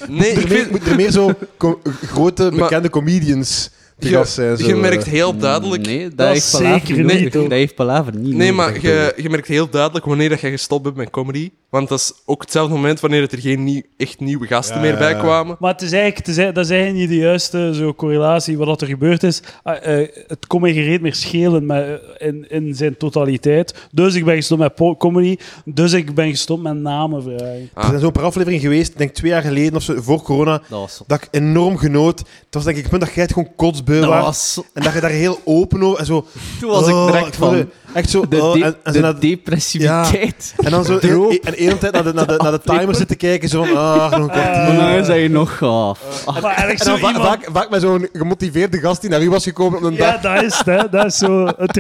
nee, ik Er meer- vind. Moet er meer zo co- grote, Maar- bekende comedians te gast zijn? Je, Zo. eh. je merkt heel duidelijk. Nee, Nee, dat, Dat heeft is Palaver zeker niet niet, nodig. hoor. Dat heeft Palaver niet nodig. maar je, je merkt heel duidelijk wanneer dat je gestopt bent met comedy. Want dat is ook hetzelfde moment wanneer dat er geen nieuw, echt nieuwe gasten Ja, meer ja, bij ja. kwamen. Maar het is eigenlijk, het is eigenlijk- dat is eigenlijk niet de juiste zo, correlatie. Wat dat er gebeurd is, eh, eh, het kon mij gereed meer schelen maar, eh, in, in zijn totaliteit. Dus ik ben gestopt met po- comedy. Dus ik ben gestopt met namen vragen. Ah. Er zijn zo'n paar afleveringen geweest, ik denk twee jaar geleden of zo, voor corona, Dat was zot. dat ik enorm genoot. Het was denk ik het punt dat jij het gewoon kotsbeu Dat was. was zot. En dat je daar heel open over... En zo, Toen was ik oh, direct voelde- van... Echt zo... De, oh, de- en, en, zo de naar- depressiviteit. en dan zo... droop. En de hele tijd naar de, naar de, naar de timer zitten kijken, zo van... Ah, nog een kwartier. Maar nou is dat je nog gaaf. Ah, Eh, Maar eigenlijk En zo dan va- iemand... vaak, vaak met zo'n gemotiveerde gast die naar u was gekomen op een Ja, dag. dat is het. Hè. Dat is zo het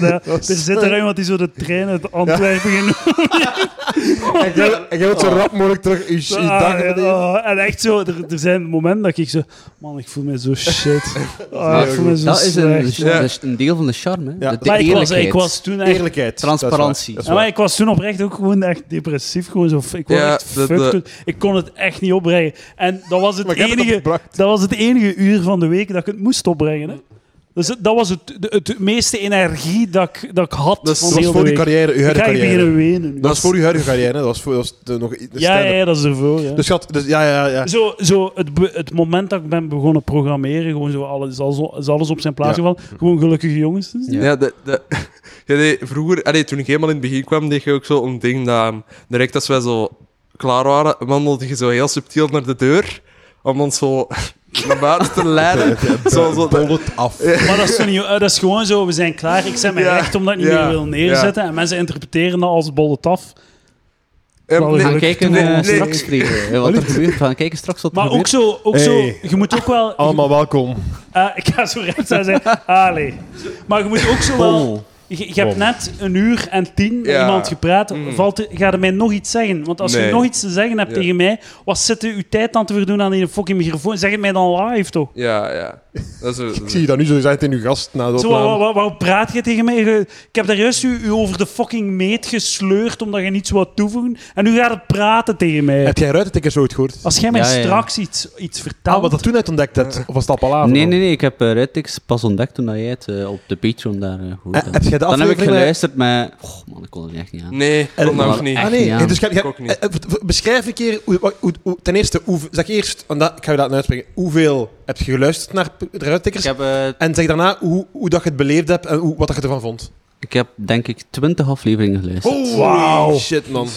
daar. Er zit er iemand die zo de trein uit Antwerpen genomen En jij- en jij wilt zo rap mogelijk terug uw, uw Oh. Ah, dag ja, beneden. ah. En echt zo, er, er zijn momenten dat ik zo... Man, ik voel me zo shit. Ah, ik heel voel me zo Dat is een, slecht. Ja. dat is een deel van de charme. hè. Ja. De, de Maar ik was, eerlijkheid. ik was toen echt Eerlijkheid. Transparantie. Dat is Ja, waar. maar ik was toen oprecht ook gewoon echt depressief. Gewoon zo, ik was Ja, echt dat- fucked dat- toen. Ik kon het echt niet opbrengen. En dat was het, eh, Maar jij hebt het enige, opgebracht. dat was het enige uur van de week dat ik het moest opbrengen. Hè. Dus het- dat was het, de- het meeste energie dat ik, dat ik had Dus van Dat de was hele voor uw week. carrière, uw Ik huidige ga hier carrière. beginnen wenen. nu. Dat was voor uw huidige carrière, hè? dat was voor dat was de, nog de ja, ja, stand-up. ja, dat is ervoor. Ja. Dus, schat, dus ja, ja, ja. Zo, zo het, be- het moment dat ik ben begonnen programmeren, gewoon zo alles, is alles, is alles op zijn plaats Ja. gevallen. Gewoon gelukkige jongens. dus. Ja, de, de, ja nee, vroeger, allee, toen ik helemaal in het begin kwam, deed je ook zo een ding dat ehm, direct als wij zo klaar waren, wandelde je zo heel subtiel naar de deur om ons zo naar buiten te leiden. zo, zo, Bol het af. Maar dat is, toch niet, eh, dat is gewoon zo, we zijn klaar. Ik zet mijn Ja, recht omdat ik niet ja, meer wil neerzetten. En mensen interpreteren dat als bol het af. Ehm, Wel, we nee, Gaan Ik- kijken nee, eh, nee. straks, Free, eh, wat er gebeurt. We Gaan kijken straks wat er Maar ook gebeurt. zo, ook Hey. zo, je moet ook wel... Allemaal welkom. eh, ik ga zo recht zijn. Allee. Maar je moet ook zo wel... Pommel. Je, je hebt Bom. net een uur en tien met Ja. iemand gepraat. Mm. Valt er, ga je mij nog iets zeggen? Want als je Nee. nog iets te zeggen hebt Ja. tegen mij, wat zit je uw tijd dan te verdoen aan die fucking microfoon? Zeg het mij dan live, toch? Ja, ja. Dat is, Ik zie je dat nu zo gezegd in uw gast na de Zo, opname. waar- waar- waarom praat je tegen mij? Je- Ik heb daar juist u, u over de fucking meet gesleurd omdat je niets wou toevoegen. En nu gaat het praten tegen mij. Heb jij ruitentekens ooit gehoord? Als jij mij Ja, ja, ja. straks iets, iets vertelt... Ah, wat dat toen net ontdekt hebt. Of was dat palaver? Nee, nee, nee. Ik heb uh, pas ontdekt toen dat jij het eh, op de Patreon daar eh, gehoord Eh, had. heb jij de Dan heb ik aflevering met- geluisterd met... Oh man, ik kon er echt niet aan. Nee, En- kon dat maar- ook niet. Ah, Echt nee. niet aan. Eh, Dus jij- jij- Ik ook niet. eh, eh, v- beschrijf een keer, hoe, wat- hoe, hoe- ten eerste, hoe, zeg eerst, want dat, ik ga je laten uitspreken, hoeveel heb je geluisterd naar p- de Ik ruittikkers? heb, eh, En zeg daarna hoe, hoe dat je het beleefd hebt en hoe, wat dat je ervan vond. ik heb denk ik twintig afleveringen geluisterd. Oh, Wauw. Shit, man.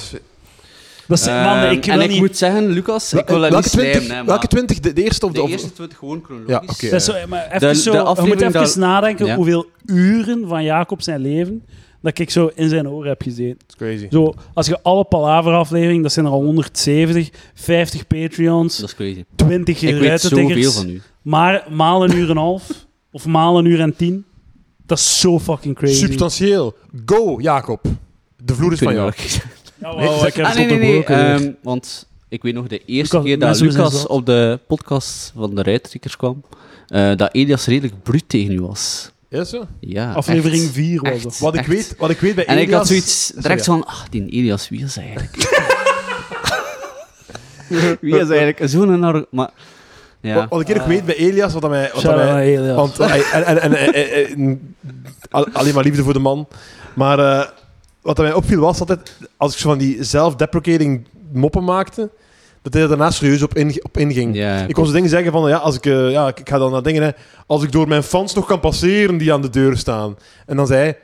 Dat is, man, Ehm, ik wil en ik niet... moet zeggen, Lucas, ik wil dat eh, welke niet slijmen, twintig? hè, maar welke twintig? De, de eerste of de, De of- eerste twintig gewoon Ja, chronologisch. oké. Dat is zo, maar even De- zo, de je moet even aflevering dat- nadenken Ja. hoeveel uren van Jacob zijn leven dat ik zo in zijn oren heb gezeten. Crazy. Zo, als je alle palaverafleveringen, dat zijn er al 170, 50 Patreons, Dat is crazy. 20 Ik weet zoveel ruitentiggers, van u. maar maal een uur en een half of maal een uur en tien. Dat is zo fucking crazy. Substantieel. Go, Jacob. De vloer is van jou. Ja, Nee, wauw, ik heb Ah, nee, het nee, nee. onderbroken weer. ehm, want ik weet nog de eerste Lucas- keer dat mensen zijn Lucas zat. op de podcast van de Ruitrikkers kwam, eh, dat Elias redelijk bruut tegen u was. Is zo? Ja, Aflevering echt. 4 was Echt. dat. Wat ik, Echt. weet, wat ik weet bij En ik had Elias- zoiets direct Sorry, van, ah, die Elias, wie is hij eigenlijk? wie is hij eigenlijk zo'n... nar- Maar, ja. ja. Wat, wat ik nog weet bij Elias, wat dat mij... Wat dat Shout-out mij- naar Elias. Want, hij- en, en, en, eh, eh, eh, n- al- alleen maar liefde voor de man. Maar eh, wat er mij opviel was altijd, als ik zo van die self-deprecating moppen maakte, dat hij er daarna serieus op, inge- op inging. ja, Ik kon zo dingen zeggen van, ja, als ik, eh, ja, ik ik ga dan naar dingen, hè, als ik door mijn fans nog kan passeren die aan de deur staan. En dan zei hij,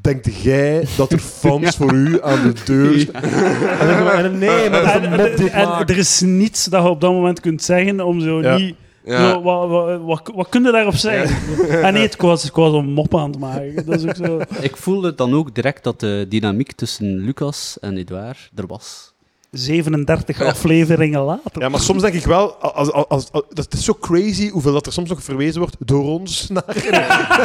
denkt jij dat er fans voor u aan de deur staan? En dan zo, en, nee, maar dat is En, een mop die ik en maak. er is niets dat je op dat moment kunt zeggen om zo Ja. niet... Ja. Zo, wat, wat, wat, wat kun je daarop zeggen? En nee, het was, ik was een mop aan het maken. Dat is ook zo. Ik voelde dan ook direct dat de dynamiek tussen Lucas en Edouard er was. 37 afleveringen later. Ja, maar soms denk ik wel, als, als, als, als- dat is zo crazy hoeveel dat er soms nog verwezen wordt door ons naar.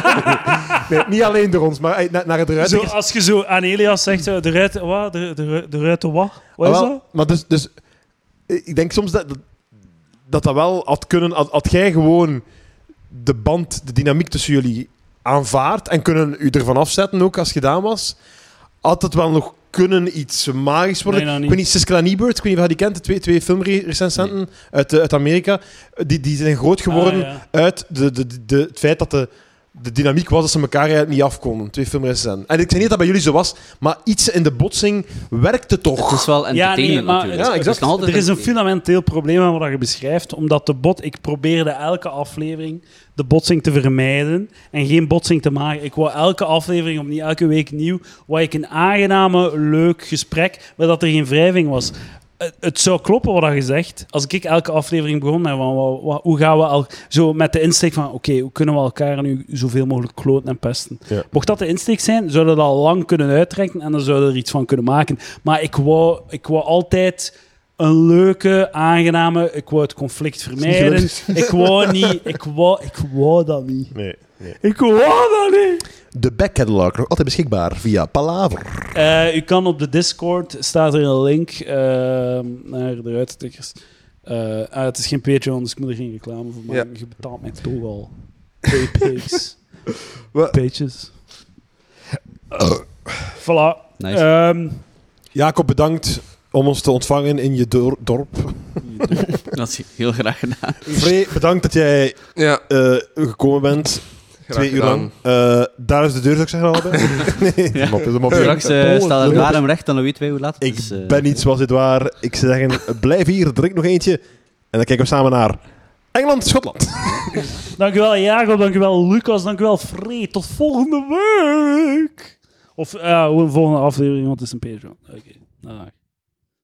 nee, niet alleen door ons, maar uit- naar, naar het eruit. zo, als je zo aan Elias zegt, zo, de ruiten wat? De, de, ru- de ruiten wat? Wat Ah, is wel, dat? Maar dus, dus, eh, ik denk soms dat dat, dat dat wel had kunnen, had, had jij gewoon de band, de dynamiek tussen jullie aanvaard en kunnen u ervan afzetten ook als gedaan was, had het wel nog kunnen iets magisch worden. Nee, nou Ik weet niet, Siskel en Ebert, ik weet niet of je die kent, de twee, twee filmrecensenten uit, eh, uit Amerika, die, die zijn groot geworden Ah, ja. uit de, de, de, de- het feit dat de, de dynamiek was dat ze elkaar eigenlijk niet afkonden. Twee filmrecensenten. En ik zeg niet dat dat bij jullie zo was, maar iets in de botsing werkte toch. Het is wel nee, entertainend maar natuurlijk. het- Ja, Het is exact. nog altijd Er is een entertainend. fundamenteel probleem aan wat je beschrijft, omdat de bot... Ik probeerde elke aflevering de botsing te vermijden en geen botsing te maken. Ik wou elke aflevering opnieuw, elke week nieuw, wou ik een aangename, leuk gesprek, maar dat er geen wrijving was. Het- Het zou kloppen wat je zegt. Als ik elke aflevering begon met van, wa- wa- hoe gaan we al zo met de insteek van oké, hoe kunnen we elkaar nu zoveel mogelijk kloten en pesten? Ja. Mocht dat de insteek zijn, zouden we dat al lang kunnen uittrekken en dan zouden we er iets van kunnen maken. Maar ik wou, ik wou altijd een leuke, aangename. Ik wou het conflict vermijden. Ik wou niet. Ik wou, ik wou dat niet. Nee. Ik wou dat niet. De backcatalog nog altijd beschikbaar via Palaver. Eh, u kan op de Discord, staat er een link ehm, naar de ruitentikkers. Eh, ah, het is geen Patreon, dus ik moet er geen reclame voor maken. Je betaalt mij toch al. PP's. Wat? Pages. Eh, Voilà. Nice. Ehm, Jacob, bedankt om ons te ontvangen in je dor- dorp. eh, Dat is heel graag gedaan. Free, bedankt dat jij Ja, eh, gekomen bent. graag twee uur gedaan. lang. Eh, daar is de deur, zou ik zeggen. allebei. nee, dat mop, dat mop. Straks eh, Oh, staat dat het mop. waar hem recht, en dan weten wij hoe laat het Ik Dus, is. eh. ben niet zoals dit waar. Ik zou zeggen, blijf hier, drink nog eentje. En dan kijken we samen naar Engeland, Schotland. Dankjewel Jacob, dankjewel Lucas, dankjewel Free. Tot volgende week! Of eh, een volgende aflevering, want het is een Patreon. Oké, dag.